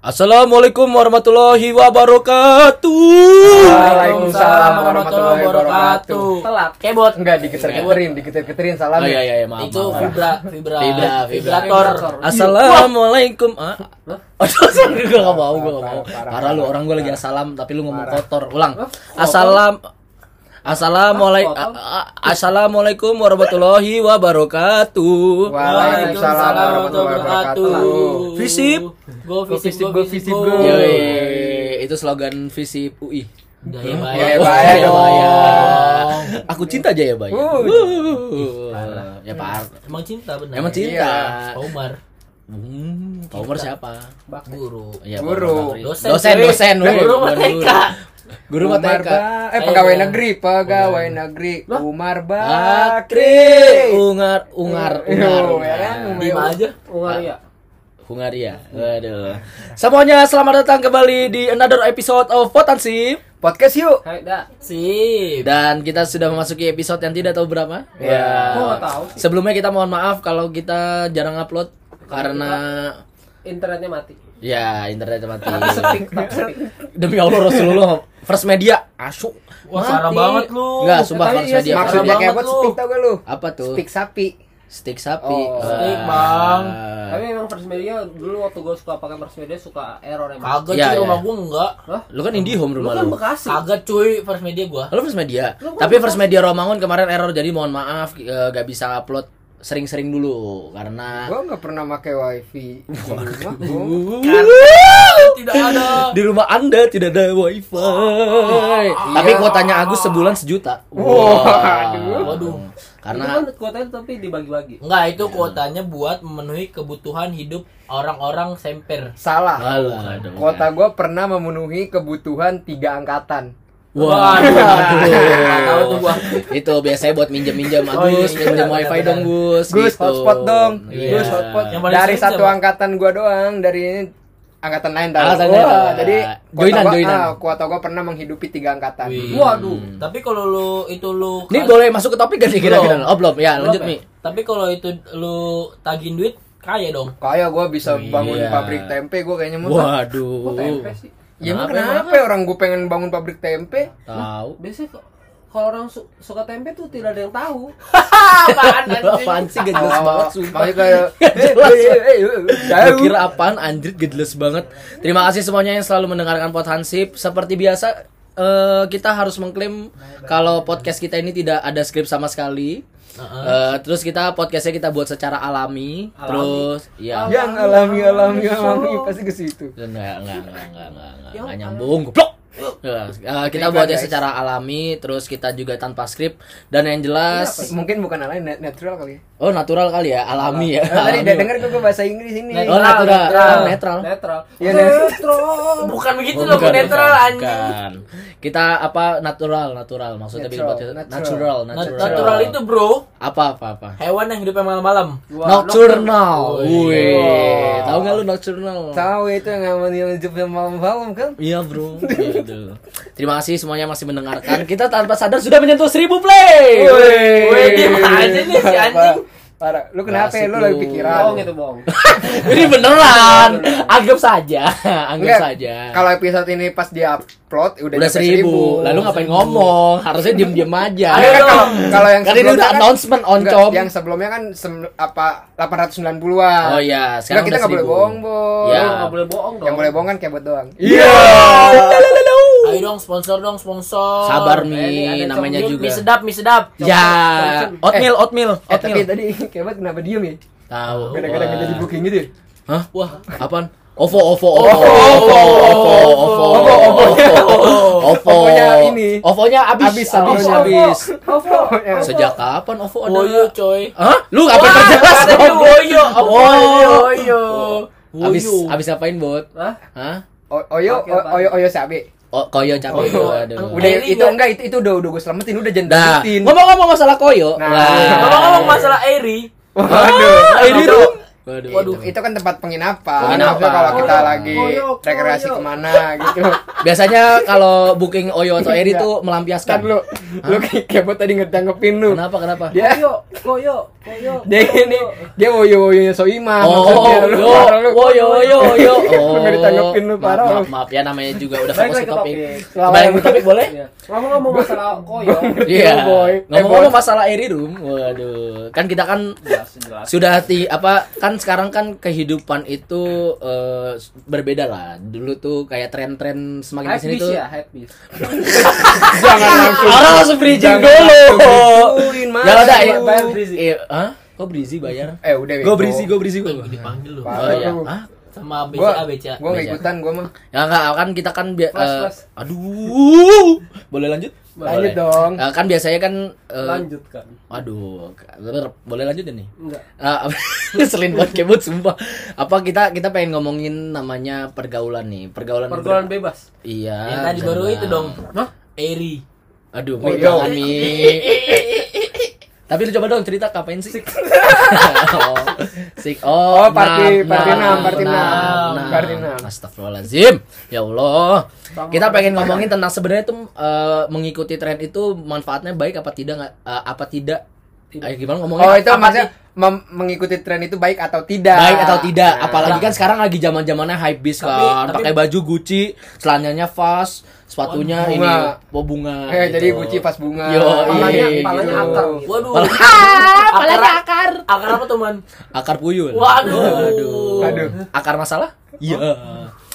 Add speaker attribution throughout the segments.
Speaker 1: Assalamualaikum warahmatullahi wabarakatuh.
Speaker 2: Waalaikumsalam warahmatullahi wabarakatuh.
Speaker 3: Telat.
Speaker 2: Kebot.
Speaker 4: Enggak diketer-keterin, diketer-keterin
Speaker 2: Oh
Speaker 4: salam.
Speaker 2: iya iya iya maaf.
Speaker 3: Itu
Speaker 2: maaf.
Speaker 3: vibra, vibra,
Speaker 2: Vibra, vibra.
Speaker 3: vibrator.
Speaker 1: Assalamualaikum. Ah, oh, sorry, gue gak mau, gue gak mau.
Speaker 4: Parah, parah,
Speaker 1: Parah lu orang gue lagi assalam tapi lu ngomong kotor. Ulang. Assalam. Assalamualaikum.
Speaker 3: Ah, kotor?
Speaker 1: Assalamualaikum warahmatullahi wabarakatuh.
Speaker 4: Waalaikumsalam warahmatullahi wabarakatuh.
Speaker 1: Visip.
Speaker 3: Go
Speaker 4: visip,
Speaker 3: visip,
Speaker 4: go
Speaker 3: go
Speaker 4: visip,
Speaker 3: visip,
Speaker 4: go.
Speaker 3: go.
Speaker 1: Yoi, itu slogan visi UI. Iya,
Speaker 3: Gaya
Speaker 4: Gaya
Speaker 3: bayar.
Speaker 4: bayar
Speaker 1: dong. Aku cinta Jaya Bayu. Ya par.
Speaker 3: Emang cinta benar.
Speaker 1: Nah, Emang cinta.
Speaker 3: Omar,
Speaker 1: Hmm, Tomer siapa?
Speaker 3: guru.
Speaker 1: Ya, Pak
Speaker 4: Guru.
Speaker 1: Omar. Dosen,
Speaker 3: cuy.
Speaker 1: dosen. weh.
Speaker 3: Guru
Speaker 1: Bukan
Speaker 3: matematika.
Speaker 1: Guru
Speaker 4: Umar
Speaker 1: matematika.
Speaker 4: Ba-
Speaker 3: Iya.
Speaker 4: eh pegawai
Speaker 3: Ayo.
Speaker 4: negeri, pegawai
Speaker 3: Iya.
Speaker 4: negeri. Umar Bakri.
Speaker 1: Bakri, Ungar, Ungar, Ungar.
Speaker 4: ya kan?
Speaker 3: Oh, Di mana Oh, iya. aja?
Speaker 1: Hungaria. Hungaria. iya. Waduh. Semuanya selamat datang kembali di another episode of Potensi.
Speaker 4: Podcast yuk.
Speaker 3: Hai, dah. Sip.
Speaker 1: Dan kita sudah memasuki episode yang tidak tahu berapa.
Speaker 4: Ya.
Speaker 3: Gua nggak tahu
Speaker 1: Sebelumnya kita mohon maaf kalau kita jarang upload karena
Speaker 3: Internetnya mati.
Speaker 1: ya internet mati. Demi Allah Rasulullah First Media asuk.
Speaker 3: Wah, parah banget lu.
Speaker 1: Enggak, sumpah
Speaker 3: Eh, tadi
Speaker 1: First
Speaker 3: iya
Speaker 1: Media.
Speaker 3: sih,
Speaker 1: First
Speaker 4: Maksudnya
Speaker 1: Media.
Speaker 4: kayak
Speaker 3: banget
Speaker 4: buat
Speaker 3: lu.
Speaker 4: speak tau gak lu?
Speaker 1: apa tuh?
Speaker 4: Speak sapi.
Speaker 1: Stick sapi.
Speaker 4: Oh,
Speaker 3: stick, Bang.
Speaker 5: Tapi memang first media dulu waktu gue suka pakai first media suka error emang.
Speaker 3: Kagak
Speaker 1: Ya,
Speaker 3: cuy,
Speaker 1: ya.
Speaker 3: rumah gua enggak.
Speaker 1: Lu kan Indihome
Speaker 5: Lu
Speaker 1: rumah
Speaker 5: kan
Speaker 1: lu.
Speaker 5: Bekasi.
Speaker 3: Kagak cuy, first media gua.
Speaker 1: Lu First Media.
Speaker 5: Lu kan
Speaker 1: Tapi First Media Romangun kemarin error jadi mohon maaf eh, nggak bisa upload sering-sering dulu karena
Speaker 4: Gua nggak pernah pakai wifi. di rumah, gua.
Speaker 3: Tidak ada.
Speaker 1: di rumah Anda tidak ada wifi.
Speaker 3: Oh, iya.
Speaker 1: Tapi kuotanya Agus sebulan sejuta.
Speaker 4: Waduh.
Speaker 3: Waduh.
Speaker 1: Karena
Speaker 5: itu kan kuotanya tapi dibagi-bagi.
Speaker 3: Enggak, itu kuotanya buat memenuhi kebutuhan hidup orang-orang semper.
Speaker 4: Salah.
Speaker 1: Alah, aduh.
Speaker 4: Kota gua pernah memenuhi kebutuhan tiga angkatan.
Speaker 1: Waduh.
Speaker 3: Nggak tahu tuh gua.
Speaker 1: itu biasanya buat minjem-minjem
Speaker 3: Oh, iya,
Speaker 1: Agus,
Speaker 3: iya,
Speaker 1: minjem
Speaker 3: benar,
Speaker 1: wifi
Speaker 3: benar,
Speaker 1: dong Gus.
Speaker 4: Gus
Speaker 1: gitu.
Speaker 4: hotspot dong.
Speaker 1: Iya.
Speaker 4: Gus hotspot.
Speaker 3: Yang paling
Speaker 4: Dari
Speaker 3: sering
Speaker 4: satu
Speaker 3: siapa?
Speaker 4: angkatan gua doang, dari ini angkatan lain dah.
Speaker 1: Angkatan lain
Speaker 4: Wah,
Speaker 1: dah.
Speaker 4: jadi kuota
Speaker 1: Joinan,
Speaker 4: gua-
Speaker 1: joinan.
Speaker 4: ah, kuota gua pernah menghidupi tiga angkatan.
Speaker 3: Wih.
Speaker 5: Waduh.
Speaker 3: Tapi kalau lu itu lu
Speaker 1: Ini boleh masuk ke topik gak nih kira-kira?
Speaker 3: Belum.
Speaker 1: Oh belum, ya lanjut Mi.
Speaker 3: Tapi kalau itu lu tagin duit kaya dong.
Speaker 4: Kayak gua bisa bangun
Speaker 1: Iya.
Speaker 4: pabrik tempe gua kayaknya mau.
Speaker 1: Waduh.
Speaker 5: tempe sih.
Speaker 4: Ya emang
Speaker 1: Kenapa
Speaker 4: kenapa ya orang gua pengen bangun pabrik tempe?
Speaker 1: Tahu.
Speaker 5: Biasanya kok kalau orang su- suka tempe tuh tidak ada yang tahu.
Speaker 3: Apaan
Speaker 1: Apaan sih gak jelas banget sumpah.
Speaker 4: Makanya kayak
Speaker 1: Jelas.
Speaker 4: Eh, eh, eh, eh,
Speaker 1: Gua
Speaker 4: tahu.
Speaker 1: kira apaan anjrit gak jelas banget. Terima kasih semuanya yang selalu mendengarkan Pot Hansip. Seperti biasa eh, kita harus mengklaim kalau podcast kita ini tidak ada skrip sama sekali. Eh, terus kita podcastnya kita buat secara alami. Terus ya
Speaker 4: Yang alami alami alami pasti ke situ.
Speaker 1: Enggak, enggak, enggak, enggak, enggak, enggak, enggak nyambung, goblok. Ya, eh, kita buatnya
Speaker 4: guys.
Speaker 1: secara alami, terus kita juga tanpa skrip dan yang jelas,
Speaker 4: Mungkin bukan alami nat- natural kali ya.
Speaker 1: oh natural kali ya, alami ya.
Speaker 4: Eh, Tadi
Speaker 1: alami.
Speaker 4: udah denger gua gua bahasa Inggris ini.
Speaker 1: Oh natural,
Speaker 5: netral.
Speaker 1: Oh, netral.
Speaker 5: Netral.
Speaker 4: Iya,
Speaker 5: netral.
Speaker 3: Bukan begitu
Speaker 1: Oh,
Speaker 3: dong
Speaker 1: bukan,
Speaker 3: netral
Speaker 1: bukan,
Speaker 3: anjing.
Speaker 1: bukan. Kita apa natural, natural maksudnya bikin
Speaker 4: Natural,
Speaker 1: podcast-
Speaker 4: natural.
Speaker 1: natural,
Speaker 3: Nat- Natural itu bro,
Speaker 1: apa apa apa.
Speaker 3: hewan yang hidupnya malam-malam.
Speaker 1: Nocturnal. Wih, tahu nggak lu nocturnal?
Speaker 4: Tahu itu yang aman yang hidupnya malam-malam kan?
Speaker 1: Iya bro. Iya, betul. Terima kasih semuanya masih mendengarkan. Kita tanpa sadar sudah menyentuh 1000 play.
Speaker 3: Wih, diem aja nih si anjing.
Speaker 4: Parah. Lu kenapa
Speaker 1: Asik
Speaker 4: ya? Lu
Speaker 1: lu. Oh,
Speaker 4: lagi
Speaker 1: gitu.
Speaker 4: pikiran.
Speaker 5: Bohong itu bohong.
Speaker 1: Ini beneran. Anggap saja, anggap
Speaker 4: Enggak.
Speaker 1: saja.
Speaker 4: Kalau episode ini pas di-upload udah,
Speaker 1: udah
Speaker 4: nyampe
Speaker 1: seribu, lalu ngapain ngomong? Harusnya diem-diem aja.
Speaker 4: Enggak, kan, kalau, kalau yang
Speaker 1: Kan ini udah
Speaker 4: kan-
Speaker 1: announcement
Speaker 4: enggak,
Speaker 1: oncom.
Speaker 4: Yang sebelumnya kan sem, apa 890-an.
Speaker 1: Oh iya, sekarang
Speaker 4: Enggak, kita
Speaker 1: udah
Speaker 4: nggak boleh
Speaker 1: 1000.
Speaker 4: bohong, Boy.
Speaker 1: Ya.
Speaker 5: Lu nggak boleh bohong dong.
Speaker 4: Yang boleh bohong kan kebot doang.
Speaker 1: Iya.
Speaker 3: Ayo dong sponsor dong sponsor.
Speaker 1: Sabar
Speaker 3: Eh,
Speaker 1: Mi, namanya
Speaker 3: mie-
Speaker 1: juga.
Speaker 3: Mie sedap, mie sedap.
Speaker 1: Ya, oatmeal, oatmeal,
Speaker 4: Eh, tapi
Speaker 1: oatmeal.
Speaker 4: tadi kebot kenapa diem ya?
Speaker 1: Tahu.
Speaker 4: Gara-gara nggak jadi booking gitu. ya?
Speaker 1: Hah? Wah, apaan? Ovo, ovo, ovo, ovo, ovo, ovo, ovo, ovo, ovo,
Speaker 4: Ovonya ini.
Speaker 1: Ovonya
Speaker 4: Abis,
Speaker 1: abis,
Speaker 4: abis,
Speaker 1: Ovonya abis.
Speaker 5: Ovo.
Speaker 4: Yang-
Speaker 1: Sejak kapan ovo ada?
Speaker 3: Boyo coy.
Speaker 1: Hah? Lu ngapain perjelas
Speaker 3: Ada
Speaker 1: dong?
Speaker 3: itu Boyo,
Speaker 1: Woyo.
Speaker 3: Boyo.
Speaker 1: Abis,
Speaker 3: Woyo.
Speaker 1: abis ngapain, Bot?
Speaker 5: Hah?
Speaker 1: Hah?
Speaker 4: O- Oyo,
Speaker 5: Pakai apaan?
Speaker 4: o- oyo, oyo sabe.
Speaker 1: Oh, koyo capek
Speaker 3: Koyo.
Speaker 1: gua, aduh.
Speaker 4: Udah
Speaker 3: Ini
Speaker 4: itu
Speaker 3: nggak-
Speaker 4: enggak itu itu udah udah gue selamatin udah jangan
Speaker 1: Dah,
Speaker 4: disebutin.
Speaker 1: ngomong-ngomong masalah Nah, koyo.
Speaker 4: Nah.
Speaker 1: Wah.
Speaker 3: Ngomong-ngomong masalah Eri,
Speaker 4: Waduh.
Speaker 1: Ah, ini tuh. Waduh.
Speaker 3: Waduh.
Speaker 1: itu.
Speaker 4: itu kan tempat penginapan.
Speaker 1: Penginapan.
Speaker 4: Maksudnya kalau kita
Speaker 5: Koyok,
Speaker 4: lagi
Speaker 5: koyok,
Speaker 4: rekreasi
Speaker 5: koyok.
Speaker 4: kemana gitu.
Speaker 1: Biasanya kalau booking Oyo atau Eri tuh melampiaskan.
Speaker 4: Kan lu, lu kayak kebo tadi ngetanggepin lu.
Speaker 1: Kenapa kenapa?
Speaker 4: Dia
Speaker 5: Koyo, koyo, koyo.
Speaker 4: dia ini dia woyo woyonya soima.
Speaker 1: Oh,
Speaker 4: Maksudnya
Speaker 1: yo, wo, yo, yo, yo.
Speaker 4: Lu
Speaker 1: Oh,
Speaker 4: nggak ditanggepin lu,
Speaker 1: maaf,
Speaker 4: parah lu.
Speaker 1: maaf, maaf ya namanya juga udah
Speaker 5: Balik
Speaker 1: fokus ke
Speaker 5: lagi ke
Speaker 1: topik.
Speaker 5: topik.
Speaker 1: Kembali ke topik boleh?
Speaker 5: Iya. Ngomong-ngomong masalah koyo.
Speaker 1: Iya.
Speaker 4: Yo, boy.
Speaker 1: Ngomong-ngomong
Speaker 4: Eh, boy.
Speaker 1: masalah Eri Room, waduh, kan kita kan
Speaker 5: Jelas, jelas.
Speaker 1: sudah ti apa kan sekarang kan kehidupan itu eh, berbeda lah. Dulu tuh kayak tren-tren semakin
Speaker 5: Hype
Speaker 1: kesini
Speaker 5: bis
Speaker 1: tuh. eh,
Speaker 5: ya, hype bis.
Speaker 4: Jangan kan langsung.
Speaker 1: Orang langsung bridging
Speaker 4: Jangan
Speaker 1: dulu.
Speaker 4: digituin, Mas.
Speaker 1: Ya udah.
Speaker 5: Bayar- bayar
Speaker 1: eh,
Speaker 5: berisi.
Speaker 1: eh, Hah? Kok berisi bayar?
Speaker 4: Eh udah.
Speaker 1: Gue berisi, gue berisi gue.
Speaker 3: Gua dipanggil lu.
Speaker 1: Oh iya.
Speaker 4: Parah.
Speaker 1: Hah?
Speaker 3: Sama
Speaker 4: Gue
Speaker 3: BCA BCA.
Speaker 4: gue nggak ikutan gue mah.
Speaker 1: Ya enggak, kan kita kan bi-
Speaker 5: Flash,
Speaker 1: eh,
Speaker 5: flash.
Speaker 1: aduh. Boleh lanjut? Boleh.
Speaker 4: Lanjut dong.
Speaker 1: Eh, kan biasanya kan eh,
Speaker 5: Lanjutkan.
Speaker 1: Waduh, bener. boleh lanjut ya nih?
Speaker 5: Enggak.
Speaker 1: Ah, ngeselin banget kebut sumpah. Apa kita kita pengen ngomongin namanya pergaulan nih, pergaulan.
Speaker 5: Pergaulan bebas.
Speaker 1: Iya.
Speaker 3: Yang tadi
Speaker 1: bisa
Speaker 3: baru
Speaker 1: dibilang.
Speaker 3: itu dong. Eri.
Speaker 1: Aduh,
Speaker 4: Oh,
Speaker 1: Mi,
Speaker 4: iya.
Speaker 1: jangan, Mi. Tapi lu coba dong cerita kapan sih? oh, sik. Oh,
Speaker 4: Oh, party- party enam, party enam, party enam.
Speaker 1: Astagfirullahalazim. Ya Allah. Kita pengen ngomongin tentang sebenarnya tuh eh, mengikuti tren itu manfaatnya baik apa tidak nggak- eh, apa tidak? Ayo gimana ngomongin?
Speaker 4: Oh itu
Speaker 1: apa
Speaker 4: maksudnya ya.
Speaker 1: sih?
Speaker 4: mem- mengikuti tren itu baik atau tidak?
Speaker 1: baik atau tidak
Speaker 4: Nah.
Speaker 1: apalagi kan sekarang lagi zaman zamannya hype beast
Speaker 3: Tapi-
Speaker 1: kan
Speaker 3: tapi-
Speaker 1: pakai baju Gucci celananya fast sepatunya
Speaker 4: Bunga.
Speaker 1: ini oh, bunga
Speaker 4: Eh,
Speaker 1: gitu.
Speaker 4: jadi Gucci pas bunga.
Speaker 1: Yo,
Speaker 5: Palanya,
Speaker 1: Iya,
Speaker 5: palanya
Speaker 1: gitu.
Speaker 5: akar. gitu.
Speaker 3: Waduh.
Speaker 1: Pala-
Speaker 3: Akar akar. Akar apa teman?
Speaker 1: akar puyul
Speaker 3: Waduh.
Speaker 4: Aduh.
Speaker 1: akar masalah iya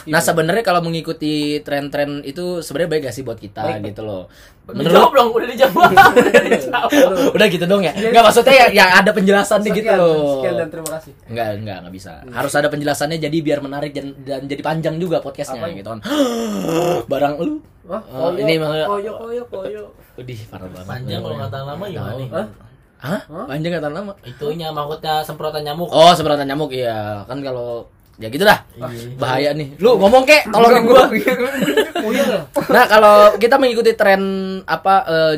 Speaker 1: nah sebenarnya kalau mengikuti tren-tren itu sebenarnya baik gak sih buat kita gitu loh
Speaker 3: Menurut
Speaker 1: menurut
Speaker 3: belum udah dijawab. Udah dijawab.
Speaker 1: udah gitu dong ya nggak maksudnya ya, ya ada penjelasan nih gitu
Speaker 5: Sekian,
Speaker 1: loh
Speaker 5: Sekian dan terima kasih.
Speaker 1: Enggak, enggak, enggak bisa. Harus ada penjelasannya jadi biar menarik dan, dan jadi panjang juga podcastnya
Speaker 5: Apanya?
Speaker 1: gitu kan. Barang lu.
Speaker 5: Wah,
Speaker 1: Eh, ini maksudnya-
Speaker 5: koyo, koyo, koyo.
Speaker 1: Udih, parah banget.
Speaker 3: Panjang kalau kata lama gimana nih?
Speaker 5: Hah?
Speaker 1: Hah? Panjang kata lama.
Speaker 3: Itunya maksudnya semprotan nyamuk.
Speaker 1: Oh, semprotan nyamuk iya. Kan kalau ya gitu dah.
Speaker 3: Iya.
Speaker 1: Bahaya nih. Lu ngomong kek, tolongin gua.
Speaker 5: Puyeng ya?
Speaker 1: Nah, kalau kita mengikuti tren apa eh,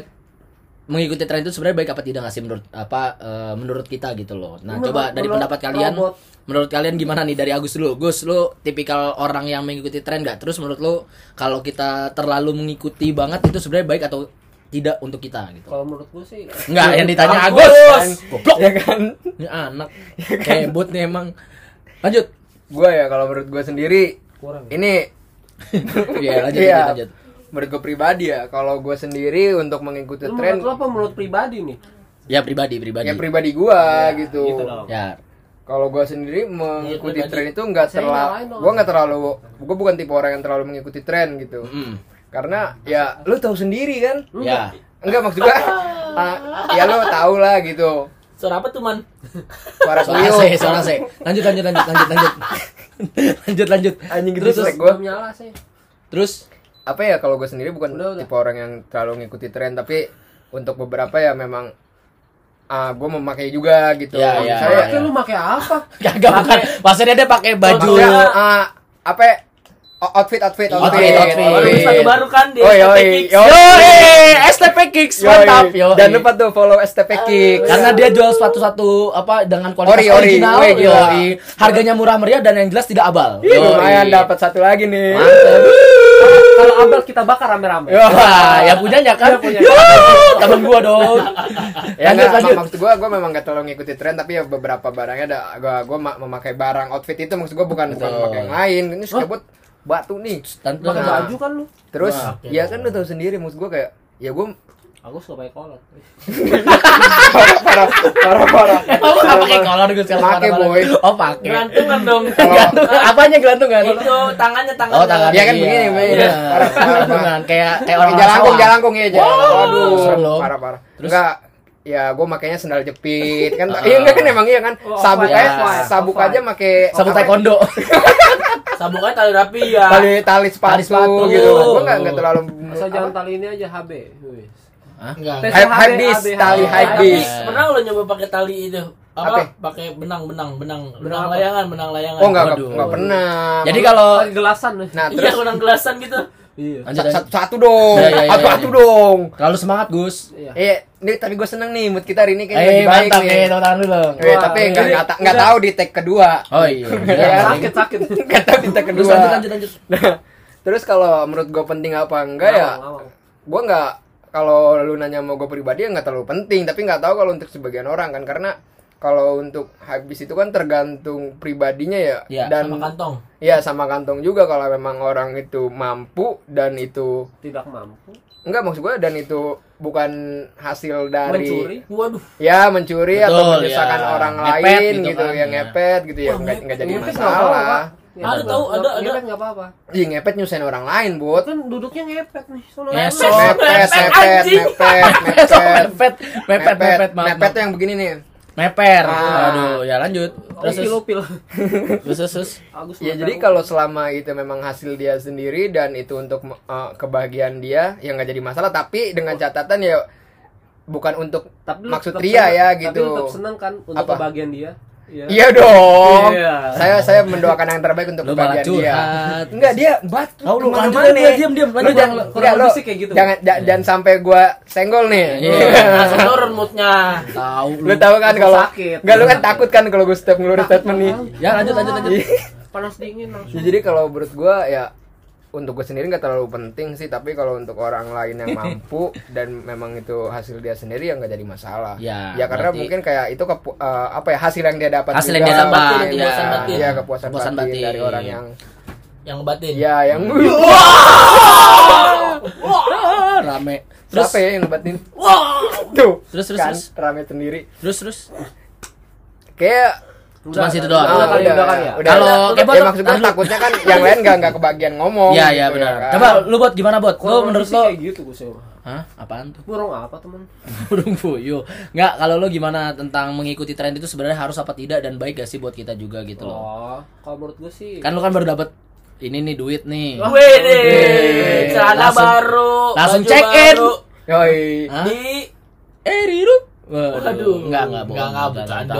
Speaker 1: mengikuti tren itu sebenarnya baik apa tidak nggak sih menurut apa eh, menurut kita gitu loh. Nah,
Speaker 5: Menurut-
Speaker 1: coba dari
Speaker 5: menurut
Speaker 1: pendapat kalian
Speaker 5: robot.
Speaker 1: menurut kalian gimana nih dari Agus dulu? Gus, lu tipikal orang yang mengikuti tren nggak? Terus menurut lu kalau kita terlalu mengikuti banget itu sebenarnya baik atau tidak untuk kita gitu.
Speaker 5: Kalau menurut gue sih
Speaker 1: Enggak, yang ditanya
Speaker 3: Agus!
Speaker 1: Agus. Goblok.
Speaker 4: ya kan?
Speaker 1: Ini anak kebut nih emang. Lanjut.
Speaker 4: Gue ya kalau menurut gue sendiri
Speaker 5: kurang. ya?
Speaker 4: ini
Speaker 1: Iya, lanjut,
Speaker 4: Iya.
Speaker 1: lanjut, lanjut.
Speaker 4: menurut gue pribadi ya kalau gue sendiri untuk mengikuti
Speaker 5: Lu
Speaker 4: tren
Speaker 5: Menurut lo apa menurut pribadi nih?
Speaker 1: Ya pribadi, pribadi.
Speaker 4: ya pribadi gue gitu.
Speaker 5: gitu dong.
Speaker 1: ya.
Speaker 4: Kalau gue sendiri mengikuti
Speaker 3: pribadi.
Speaker 4: tren itu nggak
Speaker 5: Saya
Speaker 4: terlalu,
Speaker 5: nyalain dong.
Speaker 4: gue nggak terlalu, gue bukan tipe orang yang terlalu mengikuti tren gitu.
Speaker 1: Mm.
Speaker 4: Karena ya lu tahu sendiri kan?
Speaker 1: Ya.
Speaker 4: Enggak maksud gue, ah, ya lu tau lah gitu.
Speaker 3: Suara apa tuh man?
Speaker 4: Suara
Speaker 1: Soalnya
Speaker 4: kuyuk.
Speaker 1: saya, soalnya saya. Lanjut, lanjut, lanjut, lanjut, lanjut. lanjut, lanjut.
Speaker 4: Anjing gitu
Speaker 1: terus,
Speaker 4: jelek
Speaker 1: terus,
Speaker 4: gue.
Speaker 5: Belum nyala sih.
Speaker 1: terus,
Speaker 4: apa ya kalau gue sendiri bukan
Speaker 5: Udah, udah.
Speaker 4: tipe orang yang terlalu ngikuti tren tapi untuk beberapa ya memang ah gue memakai juga gitu
Speaker 1: Ya, ya,
Speaker 4: saya
Speaker 5: Pakai lu pakai apa?
Speaker 1: kagak bukan. Maksudnya dia pakai baju.
Speaker 4: maksudnya, ah, apa ya? O- outfit outfit
Speaker 1: Outfit,
Speaker 4: outfit
Speaker 1: outfit.
Speaker 3: Baru
Speaker 1: Iya.
Speaker 3: satu baru kan di
Speaker 4: Oi,
Speaker 3: STP
Speaker 4: oi,
Speaker 3: Kicks.
Speaker 4: oi.
Speaker 1: Yo, STP Kicks,
Speaker 4: Yoi.
Speaker 1: mantap. Yo, iya.
Speaker 4: dan iya, lupa tuh follow STP
Speaker 5: Eh, iya.
Speaker 4: Kicks
Speaker 1: Karena dia jual sepatu-sepatu apa dengan kualitas
Speaker 4: Ori, ori.
Speaker 1: original,
Speaker 4: Weh, gila.
Speaker 1: yoi. harganya murah meriah dan yang jelas tidak abal.
Speaker 4: Ih,
Speaker 1: Yoi.
Speaker 4: lumayan dapat satu lagi nih
Speaker 1: Mantap.
Speaker 5: Kalau abal kita bakar rame-rame.
Speaker 4: Yo.
Speaker 1: Wah, yang punyanya kan?
Speaker 5: Yang punya.
Speaker 1: Yo, temen gua dong.
Speaker 4: ya
Speaker 1: lanjut,
Speaker 4: nggak,
Speaker 1: lanjut.
Speaker 4: mak- maksud gue gue memang gak terlalu ngikuti tren tapi ya beberapa barangnya ada gue gue memakai barang outfit itu maksud gue bukan bukan
Speaker 1: Betul.
Speaker 4: memakai yang lain ini sudah buat batu nih
Speaker 1: Tentu.
Speaker 5: Pakai
Speaker 1: Nah.
Speaker 5: baju kan lu.
Speaker 4: Terus
Speaker 1: Wah,
Speaker 4: ya kan lu tahu sendiri maksud gua kayak ya gua
Speaker 5: Aku suka pakai kolor.
Speaker 4: parah parah parah parah.
Speaker 1: Emang lu nggak pakai kolor gue sekarang?
Speaker 4: Pakai,
Speaker 1: warna-warna?
Speaker 4: boy.
Speaker 1: Oh, pakai.
Speaker 3: Gelantungan dong.
Speaker 1: Gelantungan. Apanya gelantungan?
Speaker 3: Itu tangannya tangannya.
Speaker 1: Oh, tangan.
Speaker 4: Iya kan begini, begini. Parah, parah,
Speaker 1: Gelantungan kayak kayak orang
Speaker 4: Orang jalangkung
Speaker 1: Sarawak.
Speaker 4: jalangkung ya jalan.
Speaker 1: Wow,
Speaker 4: Waduh
Speaker 1: serem loh.
Speaker 4: parah parah.
Speaker 1: Terus?
Speaker 4: Enggak ya gua makainya sendal jepit kan iya enggak kan emang iya kan
Speaker 5: Oh,
Speaker 4: sabuk
Speaker 1: off-white,
Speaker 4: aja
Speaker 5: off-white,
Speaker 4: sabuk
Speaker 5: off-white.
Speaker 4: aja make
Speaker 1: Sabut
Speaker 4: apa-
Speaker 1: taekwondo.
Speaker 3: Sabuknya tali rapi ya.
Speaker 4: tali tali sepatu,
Speaker 1: Tali sepatu. gitu?
Speaker 4: gitu gua enggak enggak terlalu
Speaker 5: Asal jangan tali ini aja HB. Wih.
Speaker 1: Enggak.
Speaker 5: Tes
Speaker 4: Hype-
Speaker 5: HB,
Speaker 4: hype beast,
Speaker 5: HB.
Speaker 4: tali
Speaker 3: Tapi
Speaker 4: hype beast.
Speaker 3: Pernah lo nyoba pakai tali itu?
Speaker 4: Apa?
Speaker 3: Apa? Pakai benang, benang, benang, benang
Speaker 5: apa?
Speaker 3: layangan, benang layangan.
Speaker 4: oh enggak enggak-
Speaker 1: Waduh.
Speaker 4: enggak pernah
Speaker 1: Jadi kalau
Speaker 5: Pakai gelasan.
Speaker 4: nah
Speaker 3: Iya,
Speaker 4: terus
Speaker 3: benang gelasan gitu.
Speaker 1: Iya.
Speaker 4: Sa-
Speaker 1: Lanjut,
Speaker 4: Satu,
Speaker 1: lanjut.
Speaker 4: satu dong,
Speaker 1: Iya, iya, iya,
Speaker 4: satu-satu
Speaker 1: iya.
Speaker 4: dong.
Speaker 1: Terlalu semangat Gus.
Speaker 5: Iya.
Speaker 4: Eh, ini tapi gue seneng nih mood kita hari ini kayaknya
Speaker 1: Ya. Eh
Speaker 4: lebih baik
Speaker 1: mantap
Speaker 4: nih.
Speaker 1: nih, tepuk tangan dulu dong.
Speaker 4: Eh,
Speaker 5: Wah,
Speaker 4: tapi
Speaker 1: iya.
Speaker 5: ini
Speaker 4: nggak nggak ta- nggak tahu di tag kedua.
Speaker 1: Oh iya.
Speaker 4: Iya.
Speaker 5: Sakit sakit.
Speaker 4: Nggak tahu di tag kedua.
Speaker 1: Terus lanjut lanjut lanjut.
Speaker 4: Nah, terus kalau menurut gue penting apa enggak ya?
Speaker 5: Ngawang, ngawang.
Speaker 4: Gue nggak kalau lu nanya mau gue pribadi ya nggak terlalu penting, tapi nggak tahu kalau untuk sebagian orang kan karena kalau untuk habis itu kan tergantung pribadinya ya,
Speaker 1: Iya,
Speaker 4: dan
Speaker 3: sama kantong.
Speaker 4: ya sama kantong juga kalau memang orang itu mampu dan itu
Speaker 5: Tidak mampu.
Speaker 4: enggak maksud gue dan itu bukan hasil dari
Speaker 5: Mencuri.
Speaker 3: Waduh.
Speaker 4: ya mencuri atau
Speaker 1: Betul,
Speaker 4: menyusahkan
Speaker 1: ya.
Speaker 4: orang
Speaker 1: Ngepet
Speaker 4: lain
Speaker 1: gitu
Speaker 4: gitu,
Speaker 1: kan,
Speaker 4: yang
Speaker 1: ya.
Speaker 4: ngepet gitu ya
Speaker 3: Wah,
Speaker 4: nggak nggak jadi
Speaker 5: Ngepet nggak apa-apa,
Speaker 4: masalah
Speaker 5: Pak.
Speaker 3: Ada tahu, ada, ada.
Speaker 5: Ngepet nggak apa-apa.
Speaker 4: iya ngepet nyusahin orang lain buat
Speaker 5: Kan duduknya ngepet nih. Sono
Speaker 1: Ngesot.
Speaker 5: ngepet.
Speaker 4: mepet mepet mepet mepet
Speaker 1: Mepet, mepet, mepet, mepet, maaf,
Speaker 4: mepet
Speaker 1: maaf.
Speaker 4: tuh yang begini nih Ya,
Speaker 1: meper.
Speaker 4: Ah.
Speaker 1: Aduh, ya lanjut. Terus
Speaker 5: Upil
Speaker 1: terus.
Speaker 5: upil.
Speaker 1: terus terus, terus.
Speaker 5: Agus.
Speaker 4: ya
Speaker 5: mata
Speaker 4: jadi
Speaker 5: lu.
Speaker 4: kalau selama itu memang hasil dia sendiri dan itu untuk eh, kebahagiaan dia ya nggak jadi masalah tapi dengan catatan ya bukan untuk
Speaker 5: Tapi lu
Speaker 4: maksud
Speaker 5: tetap
Speaker 4: Ria
Speaker 5: seneng-
Speaker 4: ya
Speaker 5: Tapi lu tetap
Speaker 4: gitu
Speaker 5: seneng kan untuk
Speaker 4: Apa?
Speaker 5: kebahagiaan dia.
Speaker 4: Iya dong.
Speaker 5: Iya.
Speaker 4: Saya saya mendoakan yang terbaik untuk
Speaker 1: Lu malah
Speaker 4: kebahagiaan dia.
Speaker 1: curhat.
Speaker 4: Enggak dia batu.
Speaker 1: Oh, lu
Speaker 4: kemana-mana.
Speaker 1: lanjut aja, diam, diam.
Speaker 4: Lu
Speaker 1: Lanjut,
Speaker 4: jangan
Speaker 5: kurang- kurang
Speaker 4: enggak, lu
Speaker 5: berisik kayak gitu.
Speaker 4: Jangan
Speaker 1: Iya.
Speaker 4: ja- jangan sampai gua senggol nih.
Speaker 3: Langsung turun moodnya.
Speaker 1: Tahu
Speaker 4: lu tahu kan
Speaker 5: Langsung
Speaker 4: kalau
Speaker 5: sakit.
Speaker 4: enggak lu kan takut kan kalau gua setiap
Speaker 5: Nah,
Speaker 4: ngeluarin statement nih. Iya.
Speaker 1: Ya lanjut lanjut lanjut.
Speaker 5: Iya. Panas dingin langsung.
Speaker 4: Ya, jadi kalau menurut gua ya untuk gue sendiri nggak terlalu penting sih tapi kalau untuk orang lain yang mampu dan memang itu hasil dia sendiri ya nggak jadi masalah
Speaker 1: Ya,
Speaker 4: karena
Speaker 1: berarti-
Speaker 4: mungkin kayak itu kepu- eh, apa ya hasil yang dia dapat
Speaker 1: Hasil
Speaker 4: juga,
Speaker 1: yang dia dapat,
Speaker 4: mungkin
Speaker 1: ya.
Speaker 4: kepuasan batin. Iya, kepuasan,
Speaker 1: Kepuasan
Speaker 4: batin,
Speaker 1: batin.
Speaker 4: dari orang yang
Speaker 3: Yang batin.
Speaker 4: ya yang
Speaker 1: Ah, Rame. Terus
Speaker 4: siapa ya yang ngebatin tuh
Speaker 1: Terus, terus,
Speaker 4: kan
Speaker 1: terus.
Speaker 4: rame sendiri
Speaker 1: terus terus.
Speaker 4: kayak
Speaker 1: Cuma situ doang.
Speaker 5: Udah
Speaker 4: ah,
Speaker 5: kali udah kali ya.
Speaker 4: udah.
Speaker 1: Kalau
Speaker 4: ya,
Speaker 1: kebot-
Speaker 4: maksud gue
Speaker 1: aduh.
Speaker 4: takutnya kan yang lain nggak nggak kebagian ngomong
Speaker 1: Iya iya
Speaker 4: gitu
Speaker 1: benar.
Speaker 4: kan.
Speaker 1: Coba lu buat gimana buat? Lu
Speaker 5: Kurang
Speaker 1: menurut
Speaker 5: lebih
Speaker 1: lu
Speaker 5: sih
Speaker 4: ya?
Speaker 5: kayak gitu gue sih.
Speaker 1: Hah? Apaan tuh?
Speaker 5: Burung apa teman?
Speaker 1: Burung puyuh. Nggak, kalau lu gimana tentang mengikuti tren itu sebenarnya harus apa tidak dan baik gak sih buat kita juga gitu loh.
Speaker 5: Oh, kalau menurut gue sih.
Speaker 1: Kan lu kan baru dapat ini nih duit nih.
Speaker 4: Oh,
Speaker 3: Wede, celana
Speaker 1: Langsung-
Speaker 3: baru,
Speaker 1: langsung
Speaker 3: baju
Speaker 1: check in.
Speaker 3: baru.
Speaker 4: Yoi.
Speaker 1: Hah?
Speaker 3: Di
Speaker 1: Eh, Riru. Waduh,
Speaker 3: Waduh.
Speaker 1: enggak enggak bohong.
Speaker 3: Enggak, enggak, bercanda.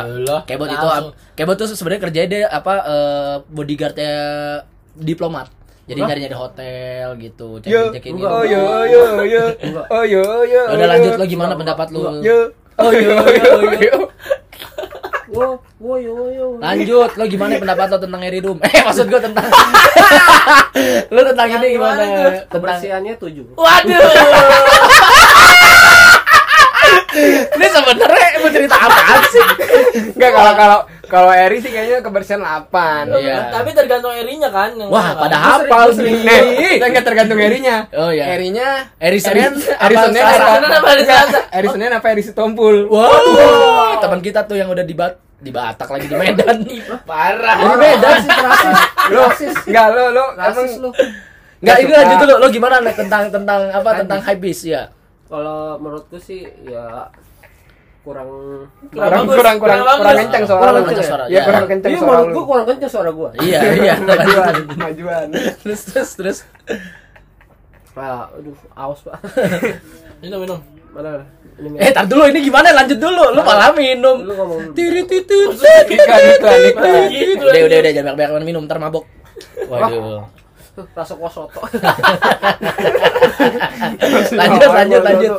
Speaker 3: Ayolah.
Speaker 1: Kebot itu
Speaker 3: Langsung.
Speaker 1: Kebot tuh sebenarnya kerjanya dia apa eh, bodyguardnya diplomat. Jadi nyari-nyari hotel gitu,
Speaker 4: Yo,
Speaker 1: cek-cekin gitu.
Speaker 4: oh yo, oh yo, oh yo, oh yo, oh yo.
Speaker 1: Ya Udah lanjut lo gimana pendapat lu?
Speaker 4: Yo, oh yo, oh yo, oh yo.
Speaker 5: Wo, wo, yo, yo.
Speaker 1: Lanjut, lo gimana pendapat lo tentang Eridum? Eh, maksud gua tentang Lo tentang ini gimana? Tentang
Speaker 5: Kebersihannya tujuh.
Speaker 1: Oh,
Speaker 3: Waduh.
Speaker 1: Ini sebenarnya mau cerita apaan sih?
Speaker 4: Enggak kalau kalau kalau Eri sih kayaknya kebersihan 8.
Speaker 1: Iya.
Speaker 3: Tapi tergantung erinya kan. yang
Speaker 1: Wah,
Speaker 3: mana kan.
Speaker 1: pada hafal
Speaker 4: Nih,
Speaker 1: sih.
Speaker 4: kan enggak tergantung Erinya.
Speaker 1: Oh iya.
Speaker 4: Erinya
Speaker 1: Eri Senin
Speaker 4: Eri
Speaker 1: apa
Speaker 4: Senin
Speaker 1: Selasa?
Speaker 4: apa?
Speaker 3: Senin apa hari
Speaker 4: Enggak,
Speaker 3: Selasa?
Speaker 4: Eri Senin apa Eri Sitompul?
Speaker 1: Wow, teman kita tuh yang udah di Bat- di Batak lagi di Medan.
Speaker 3: parah.
Speaker 4: Jadi beda sih.
Speaker 5: rasis,
Speaker 4: Lu enggak lu lu emang
Speaker 5: rasis lu.
Speaker 1: Enggak, itu
Speaker 4: suka.
Speaker 1: lanjut dulu. Lo gimana Nek, tentang tentang apa tentang hypebeast ya?
Speaker 5: Kalau menurutku sih ya kurang
Speaker 4: kurang
Speaker 3: bagus,
Speaker 4: kurang kurang
Speaker 3: kurang
Speaker 4: kurang
Speaker 3: bagus.
Speaker 4: kenceng
Speaker 5: Kurang
Speaker 4: soalnya.
Speaker 5: kenceng
Speaker 1: suara,
Speaker 4: Ya
Speaker 1: iya.
Speaker 4: kurang kenceng
Speaker 5: Iya,
Speaker 4: soal
Speaker 5: menurut
Speaker 4: lu.
Speaker 5: gua kurang kenceng suara gua.
Speaker 1: Iya, iya.
Speaker 4: Majuan, majuan.
Speaker 1: terus terus terus.
Speaker 5: Ah, aduh, aus, Pak.
Speaker 3: Minum minum.
Speaker 5: Mana? Ini
Speaker 1: Eh, tar dulu ini gimana? Lanjut dulu. Lo malah minum.
Speaker 5: Lu ngomong dulu.
Speaker 1: Tiri titu.
Speaker 4: Iklan iklan iklan.
Speaker 1: Udah udah udah jangan banyak-banyak minum, ntar mabok. Waduh.
Speaker 5: Huh, rasa kuah soto.
Speaker 1: Lanjut lanjut lanjut.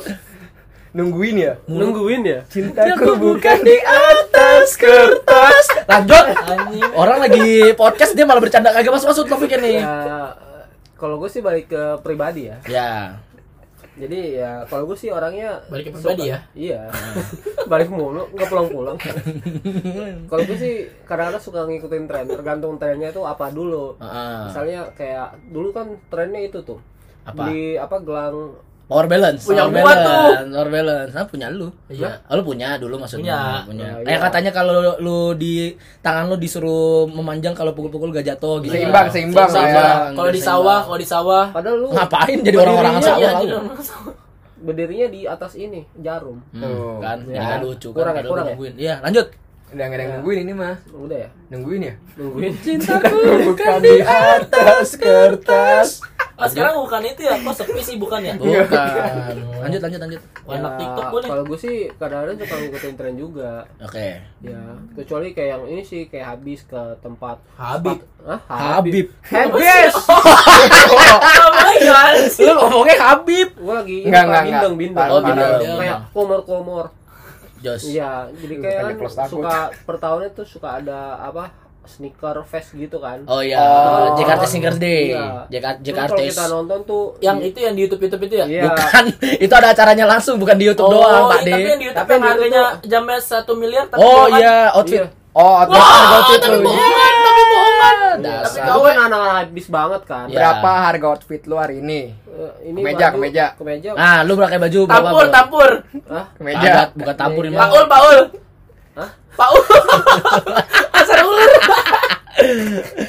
Speaker 4: Nungguin ya.
Speaker 5: Nungguin ya?
Speaker 4: Cintaku bukan di atas kertas.
Speaker 1: Lanjut.
Speaker 3: Anjing.
Speaker 1: Orang lagi podcast dia malah bercanda kagak masuk-masuk topiknya nih.
Speaker 5: Ya, kalau gue sih balik ke pribadi ya.
Speaker 1: Ya.
Speaker 5: Jadi ya kalau gue sih orangnya
Speaker 3: Balik ke pribadi ya?
Speaker 5: Iya. balik mulu, nggak pulang-pulang. kalau gue sih kadang-kadang suka ngikutin tren, tergantung trennya itu apa dulu.
Speaker 3: Ah.
Speaker 1: Heeh.
Speaker 5: Misalnya kayak dulu kan trennya itu tuh.
Speaker 1: Apa?
Speaker 5: Di apa gelang
Speaker 1: Power balance.
Speaker 3: Punya
Speaker 1: power
Speaker 3: gua
Speaker 1: balance,
Speaker 3: tuh.
Speaker 1: Power balance. Nah, punya lu.
Speaker 3: Iya.
Speaker 1: Oh, lu punya dulu maksudnya.
Speaker 3: Punya.
Speaker 5: Oh,
Speaker 1: Eh
Speaker 5: iya.
Speaker 1: katanya kalau lu di tangan lu disuruh memanjang kalau pukul-pukul gak jatuh gitu.
Speaker 4: Seimbang, seimbang, iya.
Speaker 1: Seimbang.
Speaker 4: ya.
Speaker 3: Kalau di
Speaker 1: Iya, Seimbang.
Speaker 3: sawah, kalau di sawah.
Speaker 5: padahal lu
Speaker 1: Ngapain jadi orang-orangan
Speaker 5: Berdirinya,
Speaker 1: sawah
Speaker 3: Iya,
Speaker 1: lu?
Speaker 3: jadi orang sawah.
Speaker 5: berdirinya di atas ini, jarum.
Speaker 1: Hmm,
Speaker 4: Tuh.
Speaker 1: kan ya,
Speaker 5: Ya.
Speaker 1: lucu kan
Speaker 5: Kurang ya,
Speaker 1: Padahal
Speaker 5: kurang ya.
Speaker 1: nungguin. Iya, lanjut.
Speaker 4: Udah nggak ada
Speaker 5: Nah.
Speaker 4: yang nungguin ini mah.
Speaker 5: Udah ya?
Speaker 4: Nungguin ya.
Speaker 5: Nungguin.
Speaker 4: Cintaku bukan di atas kertas.
Speaker 3: Ah, sekarang bukan itu ya, kok sepi sih bukan ya?
Speaker 4: Iya.
Speaker 1: Bukan. Lanjut lanjut lanjut.
Speaker 3: Anak
Speaker 1: Iya,
Speaker 5: Ya,
Speaker 3: TikTok boleh.
Speaker 5: Kalau gue sih kadang-kadang suka ngikutin tren juga.
Speaker 1: Oke.
Speaker 5: Ya, kecuali kayak yang ini sih kayak habis ke tempat
Speaker 3: Habib.
Speaker 5: Hah?
Speaker 1: Habib.
Speaker 5: Habis.
Speaker 3: Oh my god.
Speaker 1: Lu ngomongnya Habib.
Speaker 5: Gue lagi ini
Speaker 4: Enggak, enggak,
Speaker 5: Pak, bindeng
Speaker 4: enggak.
Speaker 5: bindeng.
Speaker 1: Oh, bindeng.
Speaker 5: Kayak komor-komor.
Speaker 1: Jos.
Speaker 5: Iya, jadi
Speaker 4: Lu
Speaker 5: kayak
Speaker 4: bukannya
Speaker 5: kan
Speaker 4: plus takut.
Speaker 5: suka per tahunnya tuh suka ada apa? sneaker fest gitu kan.
Speaker 1: Oh iya,
Speaker 4: Oh.
Speaker 1: Jakarta Sneaker Day.
Speaker 5: Iya.
Speaker 1: Jakarta
Speaker 5: Terus kalau kita
Speaker 1: Jakarta.
Speaker 5: nonton tuh
Speaker 3: Yang itu yang di YouTube-YouTube itu ya?
Speaker 5: Iya.
Speaker 1: Bukan, itu ada acaranya langsung bukan di YouTube doang, Pak
Speaker 3: iya,
Speaker 1: De.
Speaker 3: Tapi yang di YouTube
Speaker 5: Tapi yang di
Speaker 3: harganya jamnya 1 miliar tapi
Speaker 1: Oh
Speaker 3: bohongan.
Speaker 1: iya, outfit.
Speaker 5: Iya.
Speaker 4: Oh, atau outfit lu.
Speaker 5: Tapi
Speaker 1: Dasar.
Speaker 5: itu kan anak-anak habis banget kan.
Speaker 1: Iya.
Speaker 4: Berapa harga outfit lu hari ini?
Speaker 5: Eh, ini
Speaker 4: Kemeja,
Speaker 5: baju-
Speaker 4: kemeja.
Speaker 5: Kemeja.
Speaker 1: Nah, lu pakai baju berapa?
Speaker 3: Tampur,
Speaker 1: Bro?
Speaker 3: tampur.
Speaker 5: Hah?
Speaker 1: Kagak,
Speaker 4: Meja.
Speaker 1: bukan tampur ini.
Speaker 5: Meja.
Speaker 3: Paul, Paul.
Speaker 5: Hah?
Speaker 3: Paul. Asal ular.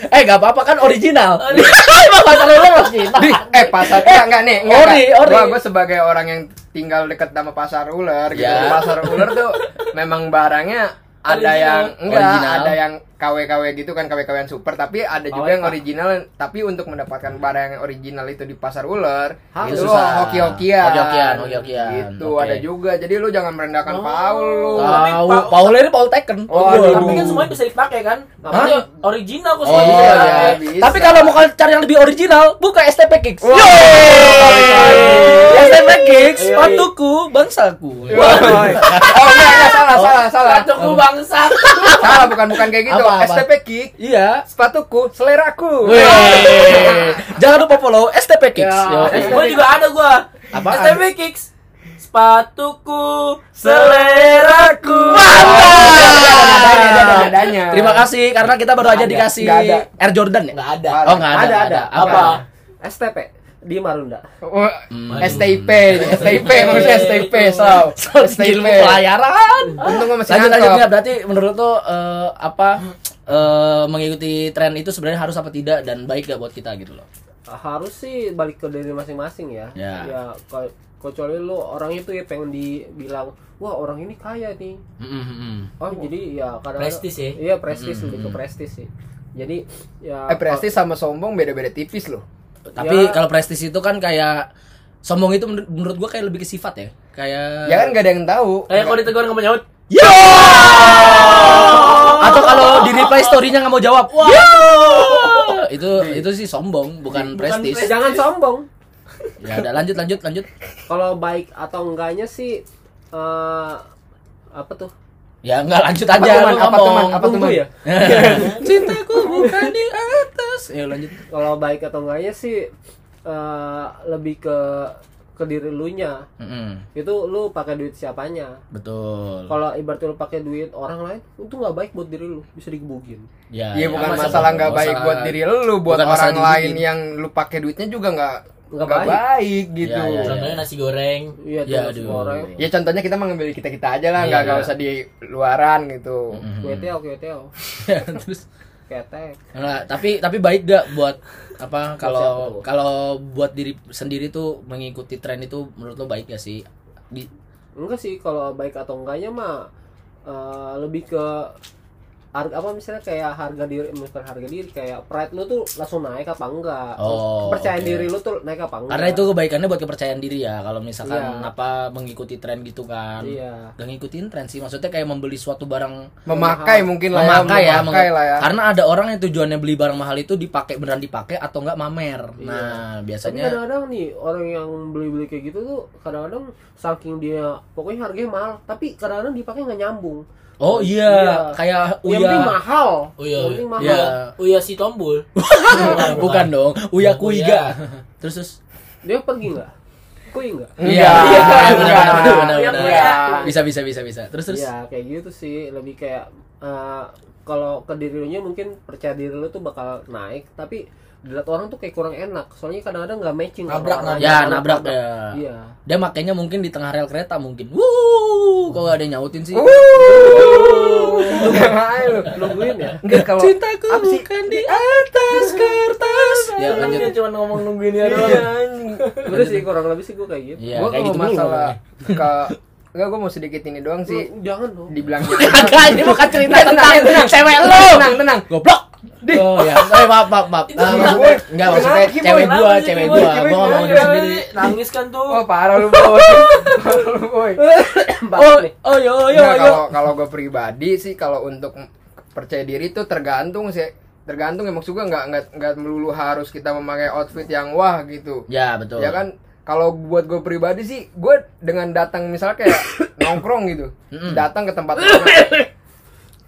Speaker 1: Eh, enggak apa-apa kan original.
Speaker 3: Ori.
Speaker 1: Emang masalah lu mas kita.
Speaker 4: Di, eh pasar enggak enggak nih, enggak.
Speaker 1: Ori,
Speaker 4: enggak.
Speaker 1: ori.
Speaker 4: Gua, gua sebagai orang yang tinggal deket sama pasar ular gitu.
Speaker 1: Ya.
Speaker 4: Pasar ular tuh memang barangnya ada
Speaker 3: Original.
Speaker 4: yang enggak,
Speaker 1: Original.
Speaker 4: ada yang KW-KW gitu kan KW-KW yang super, tapi ada juga
Speaker 5: Awet,
Speaker 4: yang
Speaker 5: Pak.
Speaker 4: original. Tapi untuk mendapatkan barang yang original itu di pasar ular,
Speaker 5: Hah,
Speaker 4: itu
Speaker 1: susah.
Speaker 4: hoki-hokian.
Speaker 1: Hoki-hokian, hoki-hokian.
Speaker 4: Gitu,
Speaker 1: Oke.
Speaker 4: ada juga. Jadi lu jangan merendahkan
Speaker 1: Oh.
Speaker 4: Paul lu.
Speaker 1: Tahu, Paul ini Paul Tekken.
Speaker 4: Oh,
Speaker 3: Tapi kan
Speaker 4: Aduh.
Speaker 3: semuanya bisa dipakai kan?
Speaker 5: Hah?
Speaker 3: Tapi original kok
Speaker 1: Oh,
Speaker 3: semuanya bisa
Speaker 1: iya.
Speaker 3: dipakai.
Speaker 4: Bisa.
Speaker 1: Tapi kalau mau cari yang lebih original, buka STP Kicks.
Speaker 4: Wah. Iya,
Speaker 1: Yeay. STP Kicks,
Speaker 5: Yoi.
Speaker 1: sepatuku, bangsaku.
Speaker 4: Oh, enggak, enggak, salah, salah, salah.
Speaker 3: Sepatuku bangsa.
Speaker 4: Salah, bukan bukan kayak gitu.
Speaker 1: Apa, apa?
Speaker 4: STP Kick,
Speaker 1: Iya.
Speaker 4: sepatuku, seleraku.
Speaker 1: Wih. Jangan lupa follow STP Kicks.
Speaker 5: Ya.
Speaker 1: Yoi.
Speaker 3: Gue juga ada Eh, gua.
Speaker 1: iya. Apaan?
Speaker 3: STB Kicks. Sepatuku, seleraku.
Speaker 4: Ada
Speaker 1: Mantap.
Speaker 4: nadanya.
Speaker 1: Terima kasih karena kita baru aja
Speaker 4: Nggak ada,
Speaker 1: dikasih
Speaker 4: nggak ada.
Speaker 1: Air Jordan ya.
Speaker 3: Enggak ada.
Speaker 1: Oh nggak ada.
Speaker 5: Ada,
Speaker 1: nggak
Speaker 5: ada.
Speaker 1: Apa?
Speaker 3: Apa?
Speaker 5: STP di Marunda.
Speaker 4: Wah, STIP, STIP maksudnya STIP, so.
Speaker 1: Skill pelayaran.
Speaker 4: Untung gua masih
Speaker 1: Lanjut lanjut
Speaker 4: nangkep.
Speaker 1: Nggak, berarti menurut lo eh, apa eh, mengikuti tren itu sebenarnya harus apa tidak dan baik gak buat kita gitu loh.
Speaker 5: harus sih balik ke diri masing-masing ya.
Speaker 1: Ya.
Speaker 5: Ya ke- kecuali lu orang itu ya pengen dibilang, wah orang ini kaya nih.
Speaker 1: Mm, mm, mm.
Speaker 5: Oh jadi ya kadang
Speaker 3: Prestis ya?
Speaker 5: Iya prestis
Speaker 1: Hmm.
Speaker 5: lebih ke prestis sih. Jadi ya.
Speaker 4: Eh prestis sama sombong beda-beda tipis loh.
Speaker 1: Tapi
Speaker 5: Ya.
Speaker 1: kalau prestis itu kan kayak sombong itu menur- menurut gua kayak lebih ke sifat ya. Kayak
Speaker 4: Ya kan gak ada yang tahu.
Speaker 3: Eh, kalau ditegur nggak mau nyaut.
Speaker 1: Yo! Atau kalau di reply story-nya nggak mau jawab. Yo! Itu itu sih sombong, bukan
Speaker 5: Eh,
Speaker 1: prestis.
Speaker 5: jangan sombong.
Speaker 1: Ya udah lanjut lanjut lanjut.
Speaker 5: Kalau baik atau enggaknya sih eh apa tuh?
Speaker 1: Ya nggak lanjut
Speaker 4: Apa
Speaker 1: aja
Speaker 4: tuh, Man?
Speaker 1: lu
Speaker 4: Apa tuh, Man?
Speaker 1: ngomong.
Speaker 4: Apa tuh,
Speaker 5: Tunggu
Speaker 4: Man?
Speaker 5: ya.
Speaker 1: Cintaku bukan di atas. Ya lanjut.
Speaker 5: Kalau baik atau enggaknya sih eh lebih ke ke diri lu nya.
Speaker 1: Mm-mm,
Speaker 5: Itu lu pakai duit siapanya.
Speaker 1: betul.
Speaker 5: kalau ibarat lu pakai duit orang lain itu nggak baik buat diri lu bisa digebukin
Speaker 1: Ya, ya,
Speaker 4: Iya bukan masalah nggak baik
Speaker 1: masalah-
Speaker 4: buat diri lu, buat
Speaker 1: bukan masalah
Speaker 4: orang lain
Speaker 1: digigit.
Speaker 4: yang lu pakai duitnya juga nggak
Speaker 5: Nggak
Speaker 4: nggak
Speaker 5: baik.
Speaker 4: baik gitu.
Speaker 1: Ya, ya,
Speaker 3: Contohnya nasi goreng.
Speaker 5: iya
Speaker 1: Ya,
Speaker 5: tuh
Speaker 1: aduh.
Speaker 5: semua orang
Speaker 4: Ya contohnya kita mengambil kita kita aja lah, nggak nggak
Speaker 1: Iya.
Speaker 4: usah di luaran gitu.
Speaker 1: Mm-mm.
Speaker 5: kueteo kueteo
Speaker 1: Ya, Terus
Speaker 5: ketek
Speaker 1: Nah, tapi tapi baik gak buat apa kalau
Speaker 5: siapa tuh?
Speaker 1: kalau buat diri sendiri tuh mengikuti tren itu menurut lo baik gak sih? Di,
Speaker 5: enggak sih kalau baik atau enggaknya mah eh, lebih ke harga apa misalnya kayak harga diri bukan harga diri kayak pride lu tuh langsung naik apa enggak
Speaker 1: Oh,
Speaker 5: kepercayaan
Speaker 1: oke.
Speaker 5: diri lu tuh naik apa enggak
Speaker 1: karena itu kebaikannya buat kepercayaan diri ya kalau misalkan
Speaker 5: Iya.
Speaker 1: apa mengikuti tren gitu kan.
Speaker 5: iya
Speaker 1: Gak ngikutin tren sih maksudnya kayak membeli suatu barang
Speaker 4: Memakai mungkin lah
Speaker 1: memakai ya,
Speaker 4: Iya, memakai
Speaker 1: menge-
Speaker 4: lah ya.
Speaker 1: karena ada orang yang tujuannya beli barang mahal itu dipakai beneran dipakai atau enggak mamer nah
Speaker 5: tapi
Speaker 1: biasanya
Speaker 5: kadang-kadang nih orang yang beli-beli kayak gitu tuh kadang-kadang saking dia pokoknya harganya mahal tapi kadang-kadang dipakai nggak nyambung
Speaker 1: oh iya,
Speaker 5: Iya.
Speaker 1: kayak
Speaker 5: yang penting
Speaker 1: uya
Speaker 5: mahal
Speaker 3: Uya.
Speaker 5: yang penting mahal
Speaker 1: Iya.
Speaker 3: Uya si tombol.
Speaker 1: Nah, bukan dong uya
Speaker 3: Uya.
Speaker 1: kuiga terus terus
Speaker 5: dia pergi nggak kui nggak
Speaker 4: Iya.
Speaker 1: Iya,
Speaker 4: Iya.
Speaker 1: benar, benar, benar,
Speaker 4: Iya.
Speaker 1: benar.
Speaker 4: Iya.
Speaker 1: bisa bisa bisa bisa terus terus
Speaker 5: ya kayak gitu sih lebih kayak eh, kalau ke diri lu nya mungkin percaya diri lu tuh bakal naik tapi dilihat orang tuh kayak kurang enak soalnya kadang-kadang nggak matching sama
Speaker 3: Nabrak,
Speaker 5: orang.
Speaker 1: ya nabrak
Speaker 5: Nabrak.
Speaker 1: ya
Speaker 5: iya
Speaker 1: dia makainya mungkin di tengah rel kereta mungkin wuh kok gak ada yang nyautin sih
Speaker 4: Wuh. Ngapain eh, lu?
Speaker 5: nungguin ya
Speaker 4: Enggak kalau
Speaker 1: cintaku
Speaker 4: apa sih?
Speaker 1: bukan di atas kertas ya lanjut
Speaker 3: Dia cuma ngomong nungguin dia doang.
Speaker 5: udah sih kurang lebih sih gue kayak gitu
Speaker 1: Iya,
Speaker 4: Iya, gua
Speaker 1: kayak
Speaker 4: kalau
Speaker 1: gitu mulu
Speaker 4: masalah
Speaker 1: ngomongnya.
Speaker 4: ke enggak gua mau sedikit ini doang sih
Speaker 5: Lu- jangan dong
Speaker 4: dibilang gitu.
Speaker 1: Kagak, ini bukan cerita
Speaker 4: Tenang,
Speaker 1: tentang
Speaker 4: tenang.
Speaker 1: cewek lu.
Speaker 4: tenang tenang
Speaker 1: Goblok. Oh ya, eh, maaf maaf maaf. Ah, maksudnya enggak maksudnya
Speaker 4: Kenapa sih,
Speaker 1: cewek
Speaker 4: Boy?
Speaker 1: gua,
Speaker 3: Kenapa sih,
Speaker 1: cewek
Speaker 3: Boy?
Speaker 1: gua.
Speaker 4: Cewek
Speaker 1: Gua
Speaker 4: gua,
Speaker 1: ngomong
Speaker 4: cewek.
Speaker 1: gitu sendiri.
Speaker 3: Iya, nangis kan
Speaker 4: Oh
Speaker 3: tuh
Speaker 4: parah lu boy. parah lu boy.
Speaker 5: Bagus nih.
Speaker 3: oh yo
Speaker 1: iya,
Speaker 3: yo
Speaker 4: Nah,
Speaker 3: yo
Speaker 4: kalau kalau gue pribadi sih kalau untuk percaya diri itu tergantung sih tergantung emang juga nggak nggak nggak melulu harus kita memakai outfit yang wah gitu
Speaker 1: Ya, betul.
Speaker 4: ya kan kalau buat gue pribadi sih gue dengan datang misalnya kayak nongkrong gitu datang ke tempat nongkrong,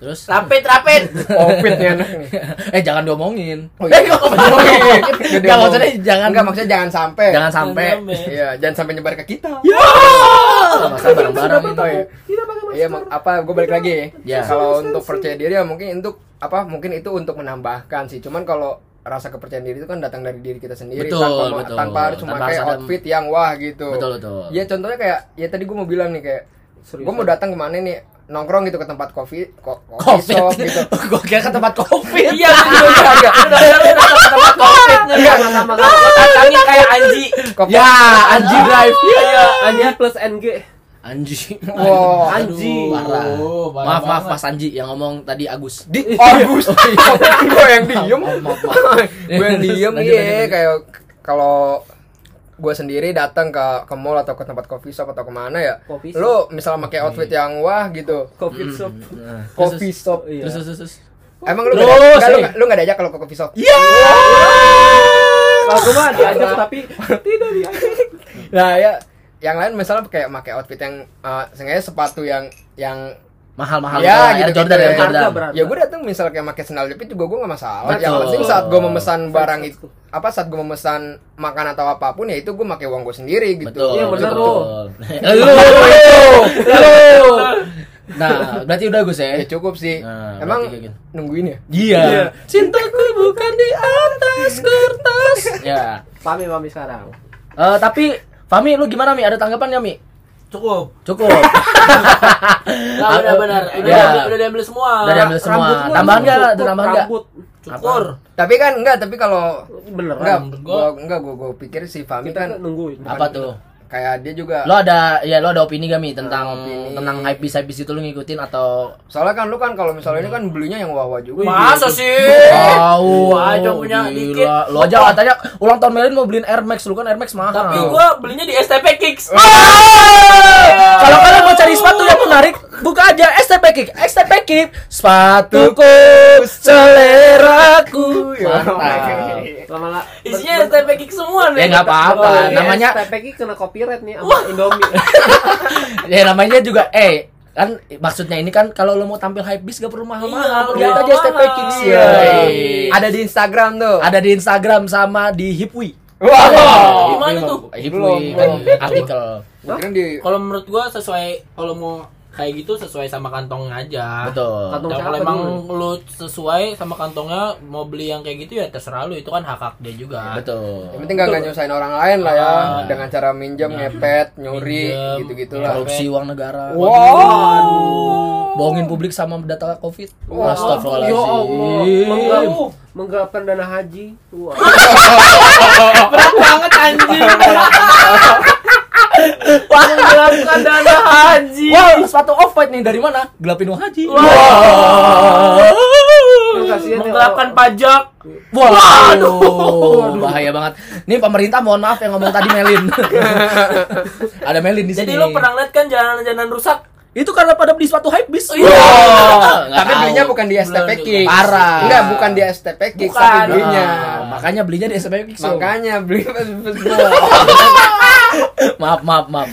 Speaker 1: Terus
Speaker 3: rapet rapet
Speaker 1: Oh,
Speaker 4: covid nih anak nih
Speaker 1: eh jangan diomongin.
Speaker 4: Oh, iya.
Speaker 1: Enggak,
Speaker 4: Gede
Speaker 1: maksudnya
Speaker 4: omong.
Speaker 1: jangan-
Speaker 4: Nggak, maksudnya jangan sampai
Speaker 1: Jangan sampai.
Speaker 4: iya Eh, jangan sampai nyebar ke kita
Speaker 1: Sama-sama bareng-bareng gitu.
Speaker 4: Oh, iya. Iya, mak- apa gue balik lagi
Speaker 1: Ya.
Speaker 4: ya. Kalau untuk percaya diri ya mungkin untuk apa mungkin itu untuk menambahkan sih. Cuman kalau rasa kepercayaan diri itu kan datang dari diri kita sendiri
Speaker 1: Betul,
Speaker 4: tanpa mau-
Speaker 1: betul.
Speaker 4: tanpa harus
Speaker 1: Tanpa harus
Speaker 4: memakai
Speaker 1: ada-
Speaker 4: outfit yang wah gitu.
Speaker 1: Betul, betul.
Speaker 4: Ya contohnya kayak ya tadi gue mau bilang nih kayak
Speaker 5: Serius,
Speaker 4: gue mau datang kemana nih nongkrong gitu ke tempat kopi ko- kopi
Speaker 1: Covid.
Speaker 4: shop gitu.
Speaker 1: Gua kira ke tempat covid.
Speaker 3: iya
Speaker 4: iya.
Speaker 5: Iya, sama-sama.
Speaker 3: datangin kayak anji
Speaker 4: kan Kopi.
Speaker 1: Ya, Anji drive.
Speaker 5: Iya, Anji plus NG.
Speaker 1: Anji.
Speaker 4: Wow.
Speaker 5: Anji.
Speaker 1: Parah.
Speaker 3: Oh, parah
Speaker 1: Maaf, maaf
Speaker 3: banget.
Speaker 1: Mas Anji yang ngomong tadi Agus.
Speaker 4: Di
Speaker 1: Iya.
Speaker 4: Agus.
Speaker 1: Oh,
Speaker 4: gue Oh, yang diem. gue yang diem
Speaker 1: Lanjut, lanjut,
Speaker 4: iya
Speaker 1: lanjut.
Speaker 4: kayak kalau gue sendiri datang ke ke mall atau ke tempat coffee shop atau kemana ya
Speaker 5: Coffee shop.
Speaker 4: lo misalnya pakai
Speaker 1: Iya.
Speaker 4: outfit yang wah gitu
Speaker 5: Covid shop.
Speaker 1: Nah.
Speaker 4: coffee shop
Speaker 5: Iya.
Speaker 1: Hmm. Terus terus terus.
Speaker 4: emang
Speaker 1: Oh,
Speaker 4: lu
Speaker 1: Terus,
Speaker 4: nggak ada- nggak, lu
Speaker 1: eh.
Speaker 4: nggak- lu nggak diajak kalau ke coffee shop
Speaker 1: Iya.
Speaker 5: Kalau gue mah diajak tapi tidak diajak.
Speaker 4: nah ya yang lain misalnya kayak pakai outfit yang eh, sengaja sepatu yang yang
Speaker 1: Mahal-mahal.
Speaker 4: Ya,
Speaker 1: Oh, Air
Speaker 4: gitu-gitu
Speaker 1: Jordan,
Speaker 4: ya.
Speaker 1: Air Jordan.
Speaker 5: Harga berapa?
Speaker 4: ya gue datang misalnya kayak pakai sandal jepit juga gue nggak masalah yang
Speaker 1: Betul.
Speaker 4: penting saat gue memesan barang itu apa saat gue memesan makanan atau apapun ya itu gue pakai uang gue sendiri gitu
Speaker 1: Betul.
Speaker 5: Iya, bener
Speaker 1: betul. Lu. Lu. Nah, berarti udah Gus ya.
Speaker 4: ya cukup sih
Speaker 1: Nah,
Speaker 4: emang
Speaker 1: berarti kayak gitu.
Speaker 4: nungguin ya
Speaker 1: Iya. Cintaku bukan di atas kertas. ya.
Speaker 5: Pami pami sekarang.
Speaker 1: Eh, tapi Fami lu gimana Mi? Ada tanggapan nggak Mi?
Speaker 3: cukup
Speaker 1: Cukup.
Speaker 3: Nah, udah benar. Udah,
Speaker 1: Ya.
Speaker 3: diambil- udah diambil semua.
Speaker 1: Udah diambil semua.
Speaker 5: Rambut gua
Speaker 1: Tambahan nggak?
Speaker 5: cukup,
Speaker 1: Ada tambahan nggak?
Speaker 5: rambut.
Speaker 3: Cukur.
Speaker 4: tapi kan enggak tapi kalau
Speaker 5: Beneran.
Speaker 4: enggak
Speaker 3: menurut
Speaker 4: gua
Speaker 3: gua.
Speaker 4: enggak gua gua pikir si Fami
Speaker 5: Kita
Speaker 4: kan
Speaker 5: kan nungguin.
Speaker 1: Apa tuh?
Speaker 4: kayak dia juga
Speaker 1: Lo ada ya lo ada opini gak Mi tentang
Speaker 4: Opini.
Speaker 1: tentang hype bis hype itu lo ngikutin atau
Speaker 4: soalnya kan lu kan kalau misalnya ini kan
Speaker 1: Hmm.
Speaker 4: belinya yang wawa juga
Speaker 3: Masa sih?
Speaker 1: Oh. Tahu
Speaker 3: aja punya dikit.
Speaker 1: Lo aja katanya ulang tahun Melin mau beliin Air Max lu kan Air Max mahal.
Speaker 3: Tapi gua belinya di STP Kicks.
Speaker 1: Oh. Kalau kalian mau cari sepatu yang menarik, buka aja STP Kick. STP Kick sepatuku seleraku. Mantap.
Speaker 5: ya. Lama-lama.
Speaker 3: Isinya STP Kicks semua Oh, iya.
Speaker 1: Ya
Speaker 3: nih.
Speaker 1: nggak apa-apa,
Speaker 5: Kalau ini
Speaker 1: namanya
Speaker 5: STPK kena copyright nih sama Indomie.
Speaker 1: ya namanya juga eh kan maksudnya ini kan kalau lo mau tampil hype bis gak perlu
Speaker 3: Iya,
Speaker 1: mahal-mahal.
Speaker 3: perlu
Speaker 1: Lihat aja
Speaker 3: mahal.
Speaker 1: STP Kick sih.
Speaker 4: Iya.
Speaker 1: Yoi.
Speaker 4: ada di Instagram tuh
Speaker 1: Ada di Instagram sama di Hipwi.
Speaker 4: wah
Speaker 3: Gimana tuh?
Speaker 1: Hipwi kan artikel.
Speaker 4: Mungkin di
Speaker 3: Kalau menurut gua sesuai kalau mau kayak gitu sesuai sama kantong aja.
Speaker 1: Betul.
Speaker 5: Kantong
Speaker 3: Dan kalau
Speaker 5: siapa
Speaker 3: emang lu
Speaker 5: dulu?
Speaker 3: sesuai sama kantongnya mau beli yang kayak gitu ya terserah lu itu kan hak hak dia juga.
Speaker 1: Betul.
Speaker 4: yang penting nggak nyusahin orang lain lah ya
Speaker 1: Ah.
Speaker 4: dengan cara minjem ngepet nyuri
Speaker 3: Minjem,
Speaker 4: gitu gitulah
Speaker 1: Korupsi uang negara.
Speaker 4: wow
Speaker 1: bohongin publik sama data covid
Speaker 4: Wah,
Speaker 5: Ya Allah,
Speaker 1: astagfirullahaladzim
Speaker 5: menggelap- menggelapkan dana haji. Wah.
Speaker 3: Berat banget Kan anjing.
Speaker 1: Iya,
Speaker 3: Menggelapkan dana haji.
Speaker 1: wah sepatu off white nih dari mana gelapin uang haji wah
Speaker 5: Yang
Speaker 1: iya.
Speaker 5: kasihan ya,
Speaker 3: Menggelapkan
Speaker 5: orang-
Speaker 3: pajak.
Speaker 1: waduh bahaya banget nih pemerintah mohon maaf yang ngomong tadi Melin ada Melin di sini
Speaker 3: Jadi lu pernah lihat kan jalanan-jalanan rusak?
Speaker 1: itu karena pada beli sepatu hype bis
Speaker 4: Ah, tapi belinya bukan di STP Kicks
Speaker 1: Parah. Ah.
Speaker 4: enggak bukan di STP Kicks
Speaker 3: Bukan.
Speaker 4: tapi belinya
Speaker 1: belinya makanya belinya di SMP Kikso.
Speaker 4: makanya beli
Speaker 1: maaf maaf maaf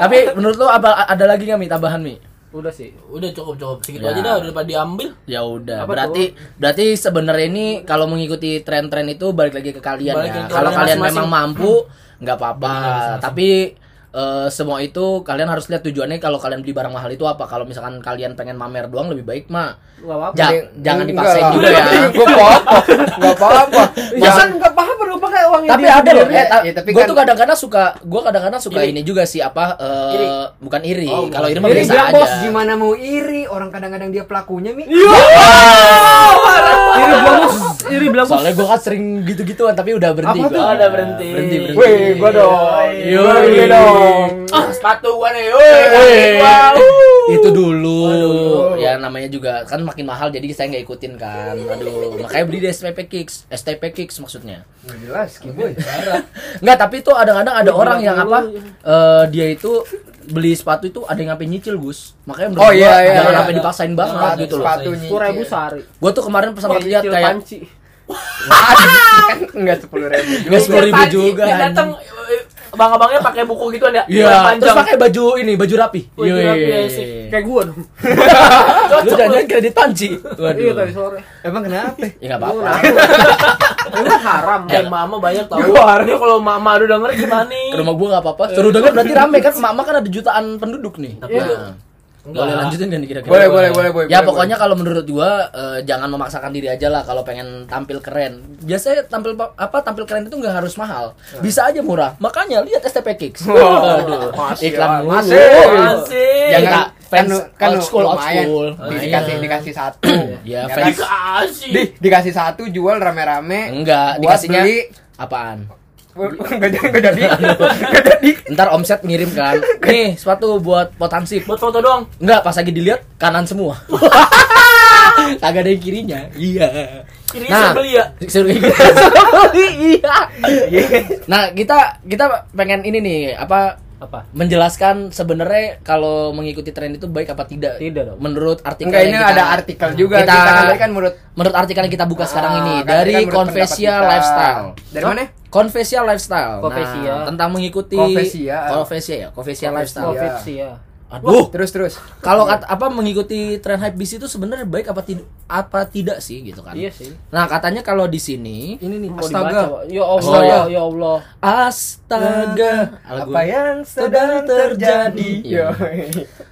Speaker 1: tapi menurut lo apa ada lagi nggak mi tambahan mi
Speaker 5: Udah sih.
Speaker 3: Udah cukup cukup segitu
Speaker 1: Ya.
Speaker 3: aja dah daripada diambil.
Speaker 1: Ya udah,
Speaker 5: Apa
Speaker 1: berarti berarti sebenarnya ini kalau mengikuti tren-tren itu balik lagi ke kalian
Speaker 3: Balik
Speaker 1: ya.
Speaker 3: lagi ke
Speaker 1: Kalau
Speaker 3: kalian
Speaker 1: kalian
Speaker 3: masing-masing.
Speaker 1: memang mampu, nggak apa-apa. Tapi eh, semua itu kalian harus lihat tujuannya kalau kalian beli barang mahal itu apa. Kalau misalkan kalian pengen mamer doang lebih baik mah.
Speaker 5: Enggak apa-apa.
Speaker 1: Ja- jangan dipaksain juga ya.
Speaker 4: gue apa nggak apa apa
Speaker 5: Masa enggak paham perlu pakai uangnya
Speaker 1: Iya. tapi
Speaker 5: dia
Speaker 1: ada loh,
Speaker 4: sendiri.
Speaker 1: eh, ta-
Speaker 4: Ya, tapi
Speaker 1: gua
Speaker 4: kan-
Speaker 1: tuh kadang-kadang suka, gua kadang-kadang suka
Speaker 3: Iri.
Speaker 1: ini juga sih apa eh,
Speaker 3: Iri.
Speaker 1: bukan iri. kalau iri mah
Speaker 4: Iri
Speaker 1: biasa
Speaker 4: dia
Speaker 1: aja.
Speaker 4: bos gimana mau iri orang kadang-kadang dia pelakunya mi
Speaker 5: Iri bilang bos, Iri bilang bos.
Speaker 1: Soalnya gua kan sering gitu-gituan tapi udah berhenti.
Speaker 5: Apa tuh?
Speaker 1: gua.
Speaker 3: Udah berhenti.
Speaker 1: Berhenti, berhenti.
Speaker 4: Wih, gua dong.
Speaker 1: Yoi.
Speaker 4: Gua gini dong.
Speaker 1: Ya,
Speaker 3: Ah, sepatu gua nih.
Speaker 1: Eh,
Speaker 3: woi.
Speaker 1: itu dulu ya namanya juga kan makin mahal jadi saya nggak ikutin kan. Aduh, makanya beli di STP Kicks, STP Kicks maksudnya.
Speaker 4: Nggak jelas, kiboy.
Speaker 1: Nggak, tapi itu kadang-kadang ada orang yang apa eh, dia itu beli sepatu itu ada yang sampai nyicil, Gus. Makanya menurut
Speaker 4: Oh,
Speaker 1: gua,
Speaker 4: iya, iya,
Speaker 1: jangan
Speaker 4: iya.
Speaker 1: sampai dipaksain banget
Speaker 3: Sepatu-
Speaker 1: gitu loh.
Speaker 4: Sepatu nyicil.
Speaker 5: sepuluh ribu sehari
Speaker 1: Gua tuh kemarin sempat
Speaker 5: Nyicil
Speaker 1: lihat kayak
Speaker 5: panci
Speaker 4: kan enggak sepuluh ribu.
Speaker 1: Nggak Iya, sepuluh ribu
Speaker 3: Panci,
Speaker 1: juga.
Speaker 3: Iya, dia datang
Speaker 1: anjing.
Speaker 3: eh, abang-abangnya pakai buku gitu ada yang
Speaker 1: Iya, terus
Speaker 3: panjang.
Speaker 1: pakai baju ini, baju rapi. Iya,
Speaker 3: Baju rapi,
Speaker 1: Yeay.
Speaker 3: ya, sih.
Speaker 5: kayak gua dong
Speaker 1: Lu jangan kredit panci.
Speaker 5: iya
Speaker 1: Waduh.
Speaker 5: tadi sore
Speaker 4: Emang kenapa?
Speaker 1: Ya enggak
Speaker 5: Gua
Speaker 1: apa-apa.
Speaker 5: nabung. Gua haram
Speaker 1: Ya.
Speaker 3: Eh, mama banyak tahu.
Speaker 1: Gua harus-
Speaker 3: Ini kalau mama udah denger gimana nih?
Speaker 4: Oh.
Speaker 1: Ke rumah gua enggak
Speaker 4: Eh.
Speaker 1: apa-apa. Suruh denger berarti rame kan mama kan ada jutaan penduduk nih.
Speaker 3: Tapi
Speaker 1: Nah.
Speaker 3: lu- Enggak.
Speaker 1: Boleh lanjutin kan kira-kira?
Speaker 4: Iya. Boleh, boleh, boleh, boleh.
Speaker 1: Ya
Speaker 4: boleh,
Speaker 1: pokoknya kalau menurut gua eh, jangan memaksakan diri aja lah kalau pengen tampil keren. Biasanya tampil pa- apa tampil keren itu nggak harus mahal.
Speaker 4: Eh.
Speaker 1: Bisa aja murah. Makanya lihat STP Kicks.
Speaker 4: Wah,
Speaker 1: Aduh,
Speaker 4: masih,
Speaker 1: iklan mulu.
Speaker 4: masih.
Speaker 3: Masih.
Speaker 1: Yang
Speaker 4: Jangan-
Speaker 1: tak fans
Speaker 4: kan
Speaker 1: old school old
Speaker 4: lumayan.
Speaker 1: school.
Speaker 4: Di- Dikasih
Speaker 1: Lumayan.
Speaker 4: dikasih satu.
Speaker 1: Ya,
Speaker 4: kan?
Speaker 1: fans.
Speaker 3: Dikasih.
Speaker 4: Di- dikasih satu jual rame-rame.
Speaker 1: Enggak,
Speaker 4: Buat
Speaker 1: dikasihnya
Speaker 4: beli.
Speaker 1: apaan?
Speaker 4: Enggak jadi, enggak jadi. Enggak jadi.
Speaker 1: Ntar omset ngirim kan. Nih, sepatu buat potensi.
Speaker 3: Buat foto doang.
Speaker 1: Enggak, pas lagi dilihat kanan semua. Kagak ada yang kirinya. Iya.
Speaker 3: Kirinya saya beli ya.
Speaker 1: Suruh ikut. Suruh beli, iya. Nah, kita kita pengen ini nih, apa
Speaker 5: apa
Speaker 1: menjelaskan sebenarnya kalau mengikuti tren itu baik apa tidak?
Speaker 5: Tidak dong.
Speaker 1: Menurut artikel
Speaker 4: Enggak
Speaker 1: yang
Speaker 4: ini
Speaker 1: kita-
Speaker 4: ada artikel juga
Speaker 1: kita-
Speaker 4: kan tadi kan menurut
Speaker 1: Menurut artikel yang kita buka sekarang
Speaker 4: Ah,
Speaker 1: ini
Speaker 4: kan
Speaker 1: dari
Speaker 4: tadi kan menurut
Speaker 1: Confessia
Speaker 4: pendapat kita.
Speaker 1: Lifestyle.
Speaker 4: Dari mana?
Speaker 1: Confessia Lifestyle.
Speaker 5: Confessia.
Speaker 1: Nah, tentang mengikuti
Speaker 4: Confessia.
Speaker 1: Confessia ya, Confessia Lifestyle.
Speaker 5: covid sih ya
Speaker 1: Aduh.
Speaker 4: Terus terus.
Speaker 1: Kalau kat- apa mengikuti tren hype bis itu sebenarnya baik apa tidak apa tidak sih gitu kan?
Speaker 5: iya sih
Speaker 1: Nah, katanya kalau di sini
Speaker 5: ini nih mau
Speaker 1: Astaga. Oh, iya.
Speaker 5: dibaca Pak. ya Allah
Speaker 1: Astaga.
Speaker 5: ya Allah
Speaker 1: astaga
Speaker 4: Apa yang sedang terjadi?
Speaker 1: Iya.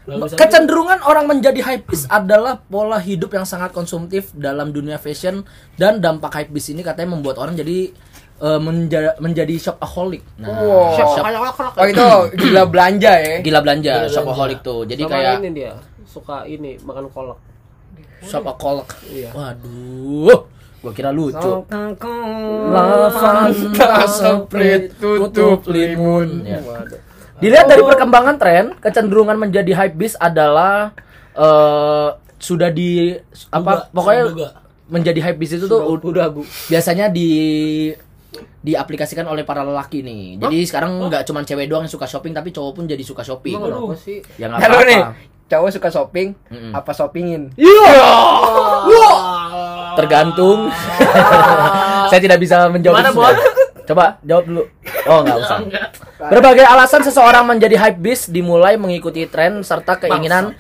Speaker 4: Yoi.
Speaker 1: Kecenderungan orang menjadi hypebeast adalah pola hidup yang sangat konsumtif dalam dunia fashion dan dampak hypebeast ini katanya membuat orang jadi eh, menja- menjadi shopaholic. Nah,
Speaker 4: Wow.
Speaker 1: shop- shop-
Speaker 4: Oh itu gila belanja ya.
Speaker 1: gila belanja,
Speaker 3: Gila
Speaker 1: shopaholic tuh. Jadi
Speaker 5: sama
Speaker 1: kayak
Speaker 5: ini dia suka ini makan kolak
Speaker 1: shopaholic.
Speaker 5: Iya.
Speaker 1: Waduh, gua kira lucu.
Speaker 4: Lafanta seprit tutup limun.
Speaker 1: Ya. Dilihat dari perkembangan tren, kecenderungan menjadi hypebeast adalah eh sudah di apa pokoknya
Speaker 3: Juga.
Speaker 1: menjadi hypebeast itu tuh ud-
Speaker 5: udah bu
Speaker 1: biasanya di diaplikasikan oleh para lelaki nih. Jadi sekarang nggak cuma cewek doang yang suka shopping, tapi cowok pun jadi suka shopping.
Speaker 5: emang kenapa sih
Speaker 1: Ya nggak
Speaker 4: Kalau
Speaker 1: apa-apa. Iya.
Speaker 4: nih cowok suka shopping,
Speaker 1: Mm-mm.
Speaker 4: apa shoppingin?
Speaker 3: Ah.
Speaker 1: Tergantung. Saya tidak bisa menjawab
Speaker 3: Oh. Gimana,
Speaker 1: itu semua.
Speaker 3: Bon?
Speaker 1: Coba jawab dulu. Oh nggak usah. Berbagai alasan seseorang menjadi hypebeast dimulai mengikuti tren serta keinginan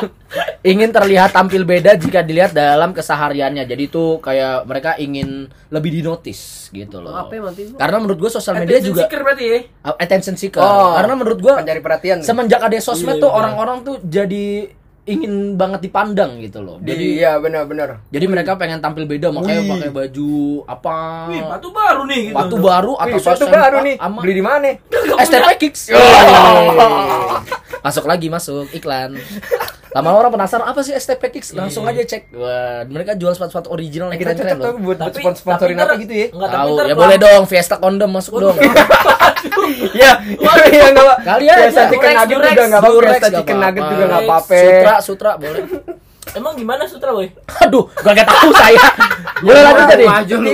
Speaker 1: ingin terlihat tampil beda jika dilihat dalam kesehariannya. Jadi itu kayak mereka ingin lebih dinotis gitu loh.
Speaker 5: apa emang itu
Speaker 1: Karena menurut gue sosial media
Speaker 3: Attention
Speaker 1: juga
Speaker 3: seeker berarti ya.
Speaker 1: Uh, attention seeker.
Speaker 4: Oh.
Speaker 1: Karena menurut gua
Speaker 4: Pencari perhatian.
Speaker 1: semenjak ada sosmed
Speaker 3: Iya,
Speaker 1: tuh
Speaker 3: iya.
Speaker 1: orang-orang tuh jadi ingin banget dipandang gitu loh. Jadi
Speaker 4: Iya benar-benar.
Speaker 1: jadi mereka pengen tampil beda makanya
Speaker 4: Wih.
Speaker 1: pakai baju apa
Speaker 3: Wih,
Speaker 1: Ah.
Speaker 3: sepatu baru nih gitu.
Speaker 1: Sepatu baru atau
Speaker 4: Wih, sepatu
Speaker 1: sosmed
Speaker 4: baru
Speaker 1: pa-
Speaker 4: nih.
Speaker 1: ama-
Speaker 4: Beli di mana?
Speaker 1: STP Kicks. masuk lagi masuk iklan. Lama-lama orang penasaran apa sih STP Kicks? Langsung aja cek. Wah, mereka jual sepatu-sepatu original yang
Speaker 4: Iya. Kita
Speaker 1: keren-keren
Speaker 4: cocok tuh
Speaker 1: loh.
Speaker 4: buat
Speaker 3: Tapi-
Speaker 4: sponsor sponsorin
Speaker 3: tapi ntar-
Speaker 4: apa gitu ya?
Speaker 3: Enggak, tapi
Speaker 1: Tahu, ya
Speaker 3: ntar pelan-
Speaker 1: boleh dong Fiesta kondom masuk dong.
Speaker 4: Iya. Iya nggak apa.
Speaker 1: Kalian
Speaker 4: Biasa
Speaker 1: aja.
Speaker 4: chicken
Speaker 3: Durex,
Speaker 4: nugget
Speaker 3: Durex,
Speaker 4: juga nggak apa-apa.
Speaker 1: Durex
Speaker 4: Biasa
Speaker 1: nggak
Speaker 4: chicken nugget
Speaker 1: apa-apa.
Speaker 4: juga nggak apa-apa.
Speaker 1: Sutra, sutra boleh.
Speaker 3: Emang gimana sutra, boy?
Speaker 1: Aduh, gua gak tahu saya. Boleh lanjut jadi.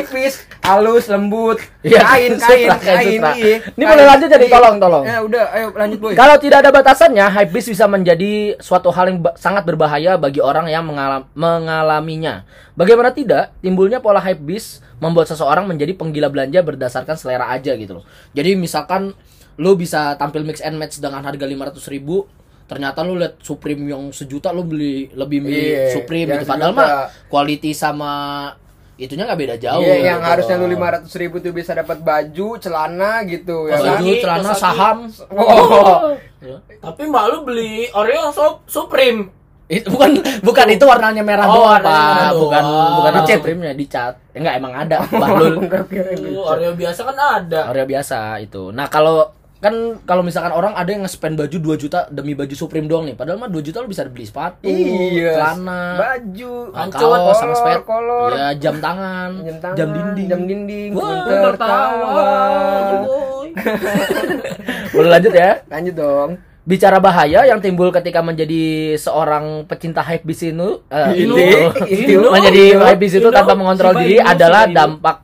Speaker 4: Tipis, halus, lembut.
Speaker 1: Iya,
Speaker 4: Kain, kain,
Speaker 1: sutra, kain,
Speaker 4: kain.
Speaker 1: sutra.
Speaker 4: iya.
Speaker 1: Ini
Speaker 4: Kain.
Speaker 1: boleh lanjut jadi,
Speaker 4: Iya.
Speaker 1: tolong, tolong.
Speaker 4: Ya udah, ayo lanjut boy.
Speaker 1: Kalau tidak ada batasannya, hypebeast bisa menjadi suatu hal yang ba- sangat berbahaya bagi orang yang mengalam- mengalaminya. Bagaimana tidak, timbulnya pola hypebeast membuat seseorang menjadi penggila belanja berdasarkan selera aja gitu loh. Jadi misalkan lu bisa tampil mix and match dengan harga 500 ribu, ternyata lu lihat Supreme yang sejuta lu beli lebih milih
Speaker 4: Iya,
Speaker 1: Supreme
Speaker 4: yang
Speaker 1: gitu. Padahal
Speaker 4: sejuta.
Speaker 1: mah quality sama itunya nggak beda jauh.
Speaker 4: Iya, yang
Speaker 1: gitu
Speaker 4: harusnya lu
Speaker 1: loh.
Speaker 4: lima ratus ribu tuh bisa dapat baju, celana gitu, ya kan?
Speaker 1: baju,
Speaker 3: Kosaki,
Speaker 1: celana,
Speaker 3: kosaki.
Speaker 1: saham.
Speaker 4: Oh,
Speaker 1: Ya.
Speaker 3: Tapi mbak lu beli Oreo yang so- Supreme.
Speaker 1: Itu bukan bukan itu warnanya merah
Speaker 3: Oh,
Speaker 1: doang,
Speaker 3: warnanya merah
Speaker 1: Pak.
Speaker 3: doang.
Speaker 1: Bukan bukan
Speaker 3: Dicat.
Speaker 1: ekstrimnya dicat. Eh, Enggak emang ada bahlul
Speaker 3: Tuh, Oreo biasa kan ada.
Speaker 1: Oreo biasa itu. Nah, kalau kan kalau misalkan orang ada yang nge-spend baju 2 juta demi baju Supreme doang nih. Padahal mah 2 juta lu bisa beli sepatu,
Speaker 4: Iya.
Speaker 1: celana,
Speaker 4: baju,
Speaker 1: kaos,
Speaker 4: kolor,
Speaker 1: sama spek,
Speaker 4: kolor.
Speaker 1: ya jam tangan,
Speaker 4: jam tangan,
Speaker 1: jam dinding.
Speaker 4: jam dinding,
Speaker 1: Wah,
Speaker 4: pun tertawa.
Speaker 5: boy
Speaker 1: Boleh lanjut ya?
Speaker 4: Lanjut dong.
Speaker 1: bicara bahaya yang timbul ketika menjadi seorang pecinta hype bis itu eh,
Speaker 4: Inu.
Speaker 1: itu
Speaker 3: Inu.
Speaker 1: menjadi
Speaker 3: Inu.
Speaker 1: hype bis itu
Speaker 3: Inu.
Speaker 1: tanpa mengontrol
Speaker 3: Shiba
Speaker 1: diri
Speaker 3: Inu,
Speaker 1: adalah
Speaker 3: Shiba Inu.
Speaker 1: dampak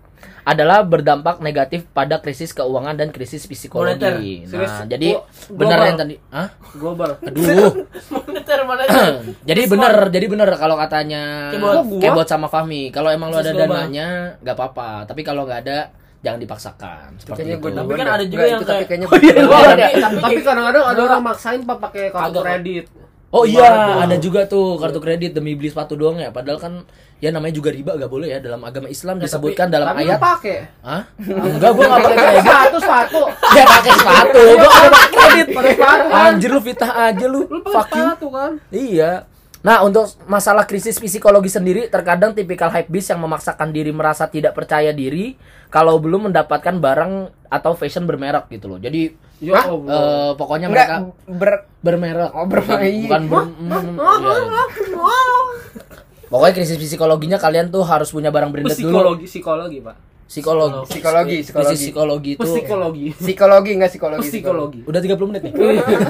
Speaker 1: adalah berdampak negatif pada krisis keuangan dan krisis psikologi.
Speaker 5: Moneter. Krisis
Speaker 1: Nah, jadi
Speaker 5: glo-
Speaker 1: benar
Speaker 5: global.
Speaker 1: yang tadi, Hah?
Speaker 5: global
Speaker 1: Aduh.
Speaker 3: Moneter moneter.
Speaker 1: jadi bener, jadi bener kalau katanya
Speaker 3: Kebot.
Speaker 1: Kok gua? kebot sama Fahmi. Kalau emang lu ada
Speaker 3: Krisis global.
Speaker 1: dananya nggak apa-apa, tapi kalau nggak ada jangan dipaksakan. Seperti
Speaker 4: kayaknya
Speaker 1: itu.
Speaker 4: gue
Speaker 3: Tapi kan ada juga yang
Speaker 4: tapi
Speaker 3: kayak-
Speaker 4: kayaknya
Speaker 5: Oh,
Speaker 1: Iya, Tapi-
Speaker 5: ada.
Speaker 3: tapi-
Speaker 5: tapi kadang-kadang ada orang maksain pak pakai kartu
Speaker 3: Kagak.
Speaker 5: kredit
Speaker 1: Oh
Speaker 5: Kemarin
Speaker 1: iya,
Speaker 5: tuh.
Speaker 1: ada juga tuh kartu kredit demi beli sepatu doang ya. Padahal kan ya namanya juga riba gak boleh ya dalam agama Islam disebutkan dalam
Speaker 5: tapi
Speaker 1: ayat.
Speaker 5: lu pakai
Speaker 1: Hah? Enggak, gua enggak pakai. gitu.
Speaker 5: satu satu
Speaker 1: Ya pakai sepatu, gua enggak pakai kredit.
Speaker 5: pakai sepatu kan
Speaker 1: Anjir lu fitnah aja lu.
Speaker 5: lu pakai
Speaker 1: Fuck you.
Speaker 5: sepatu kan
Speaker 1: Iya. Nah, untuk masalah krisis psikologi sendiri, terkadang tipikal hypebeast yang memaksakan diri merasa tidak percaya diri kalau belum mendapatkan barang atau fashion bermerek gitu loh. Jadi,
Speaker 5: ya
Speaker 4: Hah?
Speaker 5: allah
Speaker 1: eh, pokoknya
Speaker 4: enggak
Speaker 1: mereka
Speaker 4: ber
Speaker 1: bermerek.
Speaker 4: Oh, bermain.
Speaker 1: Bukan ber- iya. Pokoknya krisis psikologinya kalian tuh harus punya barang branded dulu.
Speaker 5: psikologi psikologi pak
Speaker 1: Psikologi.
Speaker 4: Psikologi, psikologi.
Speaker 1: Krisis psikologi itu. Iya.
Speaker 5: psikologi
Speaker 4: psikologi enggak psikologi.
Speaker 5: Oh, psikologi Iya.
Speaker 1: Udah 30 menit nih.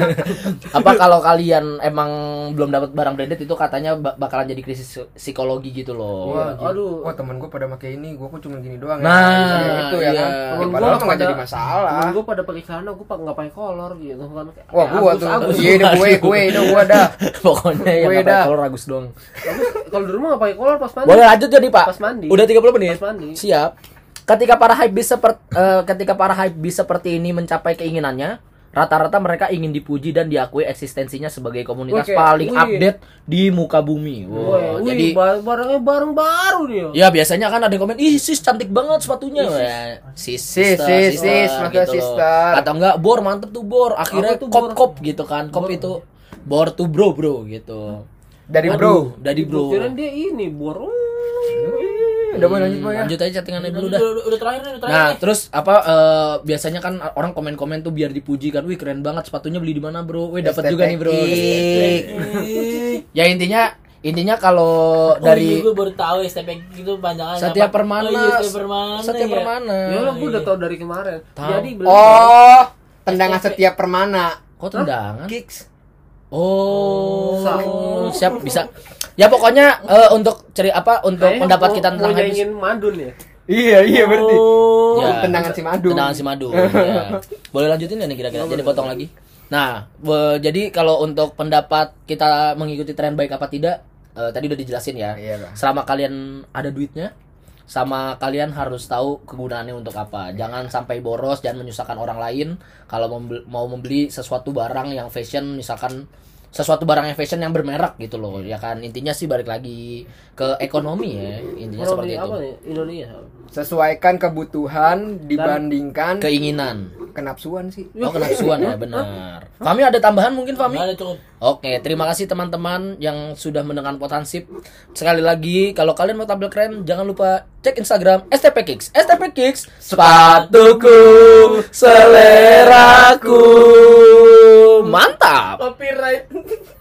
Speaker 1: Apa kalau kalian emang belum dapat barang branded itu katanya ba- bakalan jadi krisis psikologi gitu loh.
Speaker 4: Wah,
Speaker 5: Aduh.
Speaker 4: aduh. Wah, temen gue pada pakai ini, gue kok cuma gini doang
Speaker 1: Nah,
Speaker 4: Misalnya gitu ya
Speaker 1: iya.
Speaker 4: kan. Ya,
Speaker 5: Temen
Speaker 4: padahal
Speaker 5: gua
Speaker 4: enggak jadi
Speaker 5: pada-
Speaker 4: masalah.
Speaker 5: Temen gue pada pakai celana gue nggak pakai kolor gitu kan Kayak
Speaker 4: Wah, gua
Speaker 5: Agus,
Speaker 4: tuh.
Speaker 5: Agus.
Speaker 4: Iya, udah gue, gue, udah gue dah.
Speaker 1: Pokoknya yang
Speaker 4: Gue
Speaker 1: nggak pakai
Speaker 4: dah.
Speaker 1: kolor ragus doang.
Speaker 5: kalau di rumah nggak pakai kolor pas mandi
Speaker 1: Boleh lanjut jadi Pak?
Speaker 5: Pas mandi.
Speaker 1: Udah 30 menit.
Speaker 5: Pas mandi.
Speaker 1: Siap. Ketika para hypebeast seperti eh, ketika para hypebeast seperti ini mencapai keinginannya, rata-rata mereka ingin dipuji dan diakui eksistensinya sebagai komunitas
Speaker 5: Oke,
Speaker 1: paling
Speaker 5: wih.
Speaker 1: update di muka bumi. Wow,
Speaker 5: Woi, wih,
Speaker 1: jadi
Speaker 5: bar- barangnya barang baru dia
Speaker 1: ya biasanya kan ada yang komen, "Ih, sis cantik banget sepatunya." Ya, sis,
Speaker 4: Sis,
Speaker 1: sister,
Speaker 4: sis,
Speaker 1: sister,
Speaker 4: sis, maka
Speaker 1: gitu loh.
Speaker 4: sister.
Speaker 1: Atau enggak, bor mantep tuh bor. Akhirnya
Speaker 5: Apa tuh
Speaker 1: kop
Speaker 5: bor?
Speaker 1: kop gitu kan. Kop itu bor tuh bro bro gitu.
Speaker 4: Dari
Speaker 1: Aduh,
Speaker 4: bro.
Speaker 1: dari bro.
Speaker 5: Kirain dia ini borong
Speaker 1: Hmm.
Speaker 4: Udah boleh lanjut, Boy ya.
Speaker 1: Lanjut aja chattingannya dulu
Speaker 3: Udah
Speaker 1: dah.
Speaker 3: udah- udah terakhir nih, udah terakhir.
Speaker 1: Nah,
Speaker 3: nih.
Speaker 1: terus apa eh, biasanya kan orang komen-komen tuh biar dipuji kan. Wih, keren banget sepatunya beli di mana, Bro? Wih, dapat juga nih, Bro.
Speaker 4: STPI.
Speaker 1: Ya intinya intinya kalau
Speaker 3: Oh, iya,
Speaker 1: dari
Speaker 3: gue baru tahu STPK itu panjangannya.
Speaker 1: Satya
Speaker 3: gitu apa.
Speaker 1: Permana,
Speaker 3: Oh, iya, Satya Permana.
Speaker 1: Satya
Speaker 3: ya.
Speaker 1: Permana.
Speaker 5: ya lo gue udah
Speaker 1: Iya.
Speaker 5: tau dari kemarin jadi beli
Speaker 4: Oh, tendangan setiap permana.
Speaker 1: Kok tendangan?
Speaker 4: Kicks.
Speaker 1: Oh,
Speaker 5: Sah.
Speaker 1: siap bisa. Ya pokoknya eh, untuk ceri apa untuk
Speaker 5: Kayaknya
Speaker 1: pendapat
Speaker 5: mau-
Speaker 1: kita tentang
Speaker 5: mau
Speaker 1: habis
Speaker 5: ingin madun ya
Speaker 4: Iya, iya berarti.
Speaker 3: Oh.
Speaker 1: Ya.
Speaker 4: tendangan si madu.
Speaker 1: tendangan si madu. ya. Boleh lanjutin nggak nih kira-kira? Jadi potong lagi. Nah, be- jadi kalau untuk pendapat kita mengikuti tren baik apa tidak, eh, tadi udah dijelasin ya.
Speaker 4: Iya, Pak.
Speaker 1: Selama kalian ada duitnya, sama kalian harus tahu kegunaannya untuk apa. Jangan sampai boros, jangan menyusahkan orang lain. Kalau membel- mau membeli sesuatu barang yang fashion, misalkan sesuatu barang yang fashion yang bermerek gitu loh, ya kan. Intinya sih balik lagi ke ekonomi ya, intinya
Speaker 5: Orang
Speaker 1: seperti
Speaker 5: di
Speaker 1: itu.
Speaker 5: apa nih Indonesia
Speaker 4: Sesuaikan kebutuhan dibandingkan
Speaker 1: Keinginan.
Speaker 4: kenapsuan sih.
Speaker 1: Oh kenapsuan ya benar. Fami ada tambahan mungkin Fami?
Speaker 3: Nggak ada cukup.
Speaker 1: Oke, terima kasih teman-teman yang sudah mendengar potensi. Sekali lagi, kalau kalian mau tampil keren, jangan lupa cek Instagram STP Kicks. STP Kicks, sepatuku, seleraku. Mantap.
Speaker 3: Copyright.